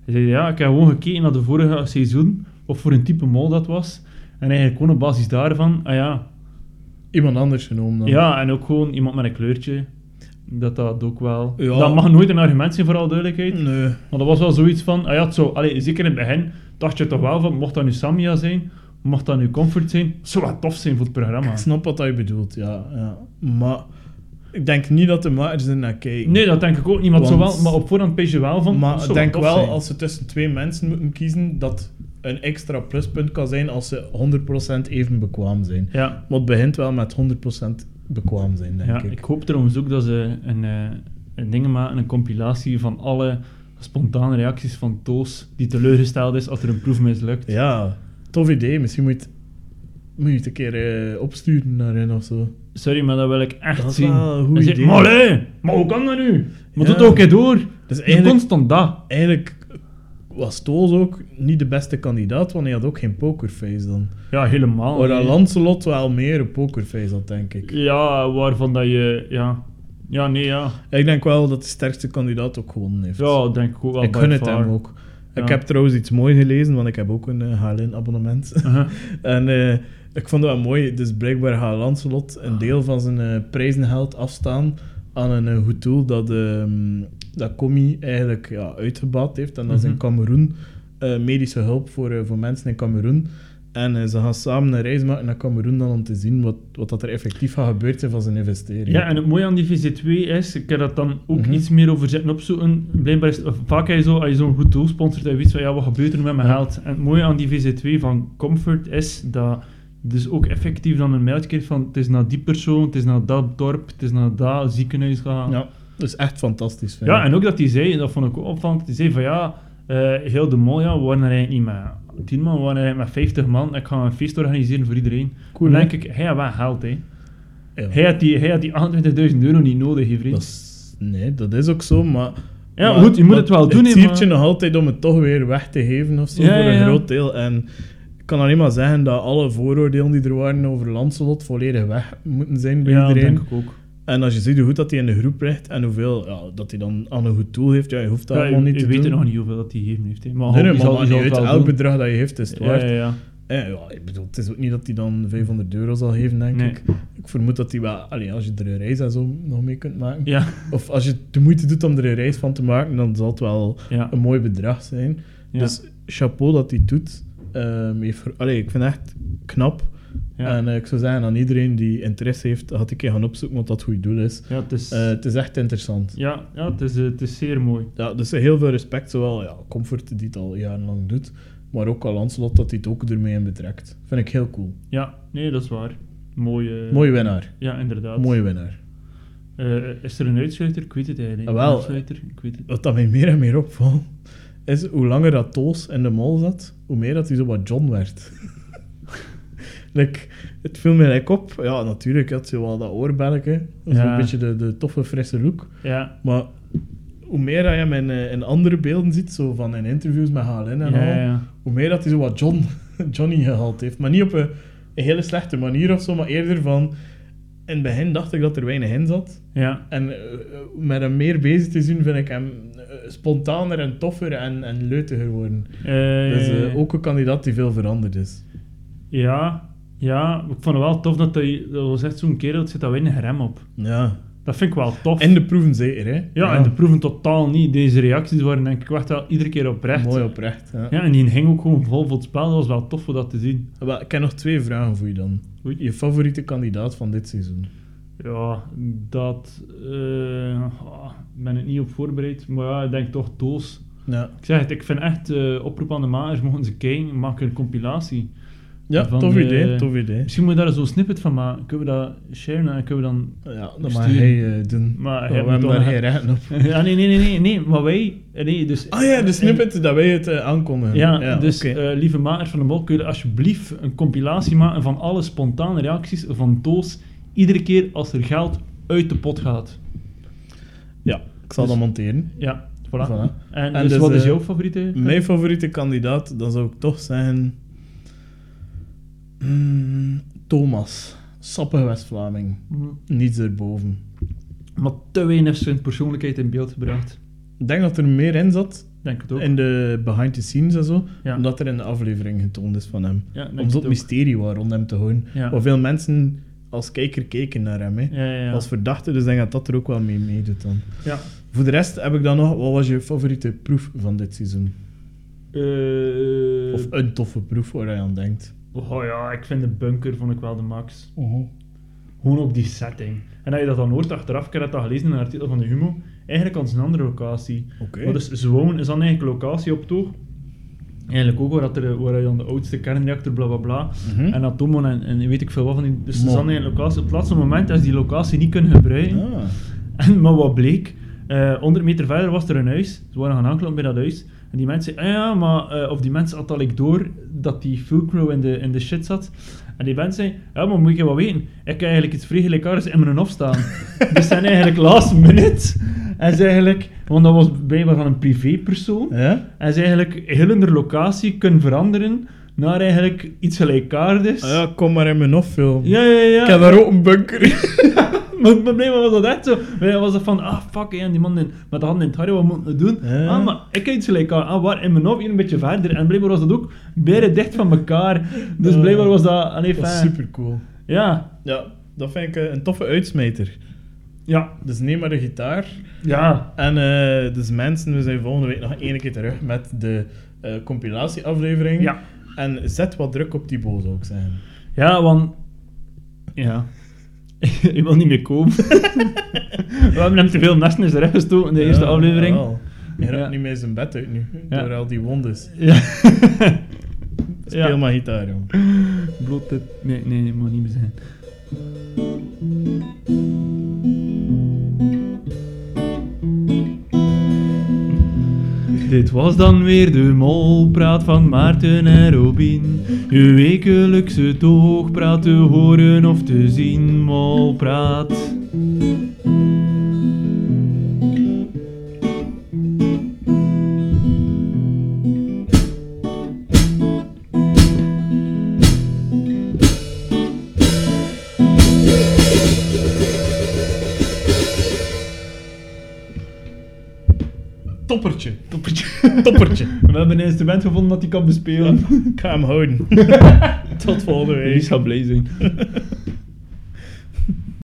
Speaker 2: Hij zei ja, ik heb gewoon gekeken naar de vorige seizoen, of voor een type mol dat was, en eigenlijk gewoon op basis daarvan, ah ja,
Speaker 1: Iemand anders genomen dan.
Speaker 2: ja, en ook gewoon iemand met een kleurtje, dat dat ook wel...
Speaker 1: Ja.
Speaker 2: Dat mag nooit een argument zijn, vooral duidelijkheid.
Speaker 1: Nee.
Speaker 2: Maar dat was wel zoiets van, ah ja, het zou, allee, zeker in het begin, dacht je toch wel van, mocht dat nu Samia zijn, mocht dat nu Comfort zijn, het zou wel tof zijn voor het programma.
Speaker 1: Ik snap wat hij bedoelt, ja, ja. Maar ik denk niet dat de makers er naar kijken.
Speaker 2: Nee, dat denk ik ook niet, maar, het zou
Speaker 1: Want-
Speaker 2: wel, maar op voorhand pees je wel van, het
Speaker 1: maar
Speaker 2: zou
Speaker 1: ik denk
Speaker 2: tof
Speaker 1: wel,
Speaker 2: zijn.
Speaker 1: als ze tussen twee mensen moeten kiezen, dat een extra pluspunt kan zijn als ze 100% even bekwaam zijn.
Speaker 2: Ja,
Speaker 1: Maar het begint wel met 100% bekwaam zijn, denk
Speaker 2: ja
Speaker 1: ik.
Speaker 2: ik hoop trouwens ook dat ze een, eh, een ding maken, een compilatie van alle spontane reacties van Toos, die teleurgesteld is als er een proef mislukt.
Speaker 1: Ja, tof idee. Misschien moet je het, moet je het een keer eh, opsturen naar hen of zo.
Speaker 2: Sorry, maar dat wil ik echt
Speaker 1: Dat is
Speaker 2: zien.
Speaker 1: wel een goed
Speaker 2: Dan zeg-
Speaker 1: idee.
Speaker 2: Maar allee, maar hoe kan dat nu? Maar
Speaker 1: Ja.
Speaker 2: doe het ook een keer door.
Speaker 1: Dus
Speaker 2: Het is
Speaker 1: eigenlijk,
Speaker 2: constant dat.
Speaker 1: eigenlijk was Toos ook niet de beste kandidaat, want hij had ook geen pokerface dan.
Speaker 2: Ja, helemaal.
Speaker 1: Waar dat
Speaker 2: Oh, nee.
Speaker 1: Lancelot wel meer een pokerface had, denk ik.
Speaker 2: Ja, waarvan dat je... Ja, ja nee, ja.
Speaker 1: Ik denk wel dat de sterkste kandidaat ook gewonnen heeft.
Speaker 2: Ja, denk ik ook wel.
Speaker 1: ik
Speaker 2: by
Speaker 1: gun het
Speaker 2: far.
Speaker 1: hem ook. Ik
Speaker 2: Ja.
Speaker 1: heb trouwens iets moois gelezen, want ik heb ook een eh, HLN-abonnement.
Speaker 2: Uh-huh.
Speaker 1: <laughs> en eh, ik vond dat wel mooi. Dus blijkbaar gaat Lancelot
Speaker 2: Ah.
Speaker 1: een deel van zijn eh, prijzengeld afstaan aan een eh, goed doel dat, ehm dat Comey eigenlijk ja, uitgebaat heeft. En dat is in
Speaker 2: Mhm.
Speaker 1: Cameroen eh, medische hulp voor, eh, voor mensen in Cameroen. En eh, ze gaan samen een reis maken naar Cameroen dan om te zien wat, wat dat er effectief gaat gebeurd zijn van zijn investering.
Speaker 2: Ja, en het mooie aan die VC2 is, ik heb dat dan ook
Speaker 1: Mhm.
Speaker 2: iets meer over zitten opzoeken. Blijkbaar is het- vaak heb je zo, als je zo'n goed doel sponsort, en weet van, ja, wat gebeurt er met mijn geld? En het mooie aan die VC2 van Comfort is dat dus ook effectief dan een mailtje krijgt van, het is naar die persoon, het is naar dat dorp, het is naar dat ziekenhuis gaan.
Speaker 1: Ja, dat is echt fantastisch. vind
Speaker 2: Ja,
Speaker 1: ik.
Speaker 2: en ook dat hij zei, en dat vond ik ook opvallend, dat hij zei van ja, eh, heel de mol, ja, we waren er eigenlijk niet met 10 man, we waren er eigenlijk met 50 man, ik ga een feest organiseren voor iedereen.
Speaker 1: Cool,
Speaker 2: Dan
Speaker 1: hè?
Speaker 2: denk ik, hij had wel geld, hè.
Speaker 1: Ja.
Speaker 2: Hij had die, hij had die 28.000 euro niet nodig, hè, vriend.
Speaker 1: Dat is- nee, dat is ook zo, maar...
Speaker 2: Ja,
Speaker 1: maar-
Speaker 2: goed, je moet
Speaker 1: maar
Speaker 2: het wel doen, hè,
Speaker 1: Het siert je
Speaker 2: maar-
Speaker 1: nog altijd om het toch weer weg te geven of zo,
Speaker 2: Ja,
Speaker 1: voor
Speaker 2: ja,
Speaker 1: een
Speaker 2: ja.
Speaker 1: groot deel. En ik kan alleen maar zeggen dat alle vooroordelen die er waren over Lancelot volledig weg moeten zijn bij
Speaker 2: ja, dat
Speaker 1: iedereen.
Speaker 2: denk ik ook.
Speaker 1: En als je ziet hoe goed dat hij in de groep ligt en hoeveel ja, dat hij dan aan een goed tool heeft, ja, je hoeft dat
Speaker 2: Ja,
Speaker 1: allemaal
Speaker 2: je
Speaker 1: niet
Speaker 2: je
Speaker 1: te
Speaker 2: weet
Speaker 1: doen.
Speaker 2: nog niet hoeveel dat hij gegeven heeft, hè. Maar
Speaker 1: Nee, nee,
Speaker 2: hopelijk
Speaker 1: maar
Speaker 2: zal-
Speaker 1: maakt
Speaker 2: zal
Speaker 1: niet
Speaker 2: het
Speaker 1: uit.
Speaker 2: wel
Speaker 1: Elk
Speaker 2: doen.
Speaker 1: bedrag dat je heeft is het
Speaker 2: Ja,
Speaker 1: waard.
Speaker 2: ja, ja.
Speaker 1: Eh, ja, ik bedoel, het is ook niet dat hij dan 500 euro zal geven, denk
Speaker 2: Nee.
Speaker 1: ik. Ik vermoed dat hij wel, allee, als je er een reis en zo nog mee kunt maken.
Speaker 2: Ja,
Speaker 1: Of als je de moeite doet om er een reis van te maken, dan zal het wel
Speaker 2: ja.
Speaker 1: een mooi bedrag zijn.
Speaker 2: ja.
Speaker 1: Dus chapeau dat hij het doet. Ehm, heeft ver- allee, ik vind het echt knap.
Speaker 2: ja.
Speaker 1: En eh, ik zou zeggen aan iedereen die interesse heeft, had ik je gaan opzoeken wat dat goede doel is.
Speaker 2: Ja, het is,
Speaker 1: Eh, het is echt interessant.
Speaker 2: ja, ja het, is, eh, het is zeer mooi.
Speaker 1: Ja, dus heel veel respect, zowel ja, Comfort die het al jarenlang doet, maar ook al Lancelot dat hij het ook ermee in betrekt. Vind ik heel cool.
Speaker 2: Ja, nee, dat is waar. Mooi. eh,
Speaker 1: Mooie winnaar.
Speaker 2: Ja, inderdaad.
Speaker 1: Mooie winnaar.
Speaker 2: Eh, is er een uitsluiter? Ik weet het eigenlijk. niet.
Speaker 1: Ah, wel.
Speaker 2: Een uitsluiter? Ik weet het.
Speaker 1: Wat dat mij meer en meer opvalt, is hoe langer dat Toos in de mol zat, hoe meer dat hij zo wat John werd. <laughs> like, het viel mij like op. Ja, natuurlijk had ze wel dat oorbelletje. Zo'n
Speaker 2: Ja.
Speaker 1: beetje de, de toffe, frisse look.
Speaker 2: Ja,
Speaker 1: Maar hoe meer dat je hem in, eh, in andere beelden ziet, zo van in interviews met HLN en
Speaker 2: ja,
Speaker 1: al,
Speaker 2: ja, ja.
Speaker 1: hoe meer dat hij zo wat John, <laughs> Johnny gehaald heeft. Maar niet op een, een hele slechte manier of zo, maar eerder van... In het begin dacht ik dat er weinig in zat.
Speaker 2: Ja,
Speaker 1: En eh, eh, met hem meer bezig te zien, vind ik hem eh, spontaner en toffer en, en leutiger worden.
Speaker 2: Eh,
Speaker 1: Dus eh, ook een kandidaat die veel veranderd is.
Speaker 2: Ja, ja, ik vond het wel tof dat hij... Dat was echt zo'n kerel, dat zit daar weinig rem op.
Speaker 1: Ja.
Speaker 2: Dat vind ik wel tof.
Speaker 1: En de proeven zeker, hè?
Speaker 2: Ja, en de proeven totaal niet. Deze reacties waren denk ik echt wel iedere keer oprecht.
Speaker 1: Mooi oprecht. Ja.
Speaker 2: Ja, en die hing ook gewoon vol voor het spel. Dat was wel tof om dat te zien.
Speaker 1: Wel, Ik heb nog twee vragen voor je dan.
Speaker 2: Oei.
Speaker 1: Je favoriete kandidaat van dit seizoen?
Speaker 2: Ja, dat... eh, ah, ik ben het niet op voorbereid, maar ja, ik denk toch Toos.
Speaker 1: Ja,
Speaker 2: Ik zeg het, ik vind echt eh, oproep aan de makers, mogen ze kijken, maak een compilatie.
Speaker 1: ja
Speaker 2: Van
Speaker 1: tof
Speaker 2: de-
Speaker 1: idee, tof idee.
Speaker 2: Misschien moet je daar zo'n snippet van maken. Kunnen we dat sharen en kunnen we dan
Speaker 1: Ja, dat
Speaker 2: Stuur.
Speaker 1: mag hij eh, doen.
Speaker 2: Maar hij
Speaker 1: we
Speaker 2: moet
Speaker 1: hebben
Speaker 2: toch
Speaker 1: daar
Speaker 2: nog-
Speaker 1: geen recht op.
Speaker 2: <laughs> Ja, nee, nee, nee, nee, nee, maar wij... Nee, dus,
Speaker 1: Ah ja, de snippet dat wij het eh, aankondigen.
Speaker 2: Ja, dus
Speaker 1: oké.
Speaker 2: eh, lieve makers van de Mol, kun je alsjeblieft een compilatie maken van alle spontane reacties van Toos, iedere keer als er geld uit de pot gaat.
Speaker 1: ja, ik zal
Speaker 2: dus-
Speaker 1: dat monteren.
Speaker 2: Ja, voilà.
Speaker 1: Voilà.
Speaker 2: En,
Speaker 1: En
Speaker 2: dus,
Speaker 1: dus,
Speaker 2: wat is
Speaker 1: eh,
Speaker 2: jouw favoriete?
Speaker 1: <laughs> Mijn favoriete kandidaat, dan zou ik toch zeggen... mm, Thomas. Sappige West-Vlaming. Niets erboven.
Speaker 2: Maar te weinig zijn persoonlijkheid in beeld gebracht.
Speaker 1: Ik denk dat er meer in zat,
Speaker 2: Denk het ook.
Speaker 1: in de behind the scenes en zo,
Speaker 2: Ja.
Speaker 1: omdat er in de aflevering getoond is van hem.
Speaker 2: ja, denk
Speaker 1: Om zo'n
Speaker 2: het ook.
Speaker 1: mysterie waar rond hem te houden.
Speaker 2: Ja.
Speaker 1: Waar veel mensen als kijker keken naar hem, hè.
Speaker 2: Ja, ja, ja.
Speaker 1: als verdachte, dus ik denk dat dat er ook wel mee meedoet dan.
Speaker 2: ja.
Speaker 1: Voor de rest heb ik dan nog, wat was je favoriete proef van dit seizoen?
Speaker 2: Eh,
Speaker 1: Of een toffe proef waar je aan denkt.
Speaker 2: Oh ja, ik vind de bunker vond ik wel de max. Gewoon ook die setting. En als je dat dan hoort achteraf, ik heb dat gelezen in een artikel van de Humo, eigenlijk als een andere locatie.
Speaker 1: Oké.
Speaker 2: Maar dus Zwoon is dan eigenlijk locatie op toog. Eigenlijk ook waar, dat er, waar je dan de oudste kernreactor bla bla bla.
Speaker 1: Mhm.
Speaker 2: En atomen en, en weet ik veel wat van die. Dus ze
Speaker 1: Mo.
Speaker 2: dan eigenlijk locatie. Op het laatste moment is die locatie niet kunnen gebruiken.
Speaker 1: Ah.
Speaker 2: En, <laughs> maar wat bleek? Eh 100 meter verder was er een huis. Ze waren gaan aanklampen bij dat huis. En die mensen zeiden, ah ja, maar... eh, of die mensen had al ik door dat die Fulcro in de, in de shit zat. En die mensen zeiden, ja, maar moet je wat weten? Ik heb eigenlijk iets vrijgelijkaars in mijn
Speaker 1: <laughs>
Speaker 2: hof staan. dus zijn eigenlijk last minute. En ze eigenlijk... Want dat was blijkbaar van een privépersoon.
Speaker 1: Ja?
Speaker 2: En ze eigenlijk heel hun locatie kunnen veranderen naar eigenlijk iets gelijkaardigs.
Speaker 1: Ah ja, kom maar in mijn hof, Phil.
Speaker 2: ja, ja, ja.
Speaker 1: Ik heb daar ook een bunker.
Speaker 2: Maar het probleem was dat echt zo. Wij was dat van, ah fuck, hey, en die man in, met de handen in het harde, wat moet ik doen?
Speaker 1: Ja.
Speaker 2: Ah, maar ik kijk iets gelijk aan. Ah, waar? In mijn hoofd, hier een beetje verder. En blijkbaar was dat ook beren dicht van elkaar. Dus
Speaker 1: Ja.
Speaker 2: blijkbaar was dat...
Speaker 1: <laughs>
Speaker 2: Allee,
Speaker 1: Dat is
Speaker 2: fijn.
Speaker 1: super cool.
Speaker 2: Ja.
Speaker 1: Ja, dat vind ik eh, een toffe uitsmijter.
Speaker 2: Ja.
Speaker 1: Dus neem maar de gitaar.
Speaker 2: Ja.
Speaker 1: En eh, dus mensen, we zijn volgende week nog één keer terug met de eh, compilatieaflevering.
Speaker 2: Ja.
Speaker 1: En zet wat druk op die boel, zou ik zeggen.
Speaker 2: Ja, want... Ja. <laughs> Ik wil niet meer komen. <laughs> We hebben hem te veel nesten in zijn rug gestoken in de eerste
Speaker 1: Ja,
Speaker 2: aflevering.
Speaker 1: jawel. Hij raakt
Speaker 2: Ja.
Speaker 1: niet meer zijn bed uit nu,
Speaker 2: Ja.
Speaker 1: door al die wondes. <laughs>
Speaker 2: Ja.
Speaker 1: Speel
Speaker 2: Ja.
Speaker 1: maar gitaar, jong.
Speaker 2: Bloot dit. Nee, nee, nee, moet niet meer zijn. Dit was dan weer de molpraat van Maarten en Robin. Je wekelijkse toogpraat te horen of te zien, molpraat.
Speaker 1: Toppertje.
Speaker 2: Toppertje. <laughs>
Speaker 1: Toppertje. <laughs>
Speaker 2: We hebben een instrument gevonden dat hij kan bespelen. <laughs>
Speaker 1: Ik ga hem houden. Tot volgende
Speaker 2: Die
Speaker 1: week.
Speaker 2: zou blij zijn.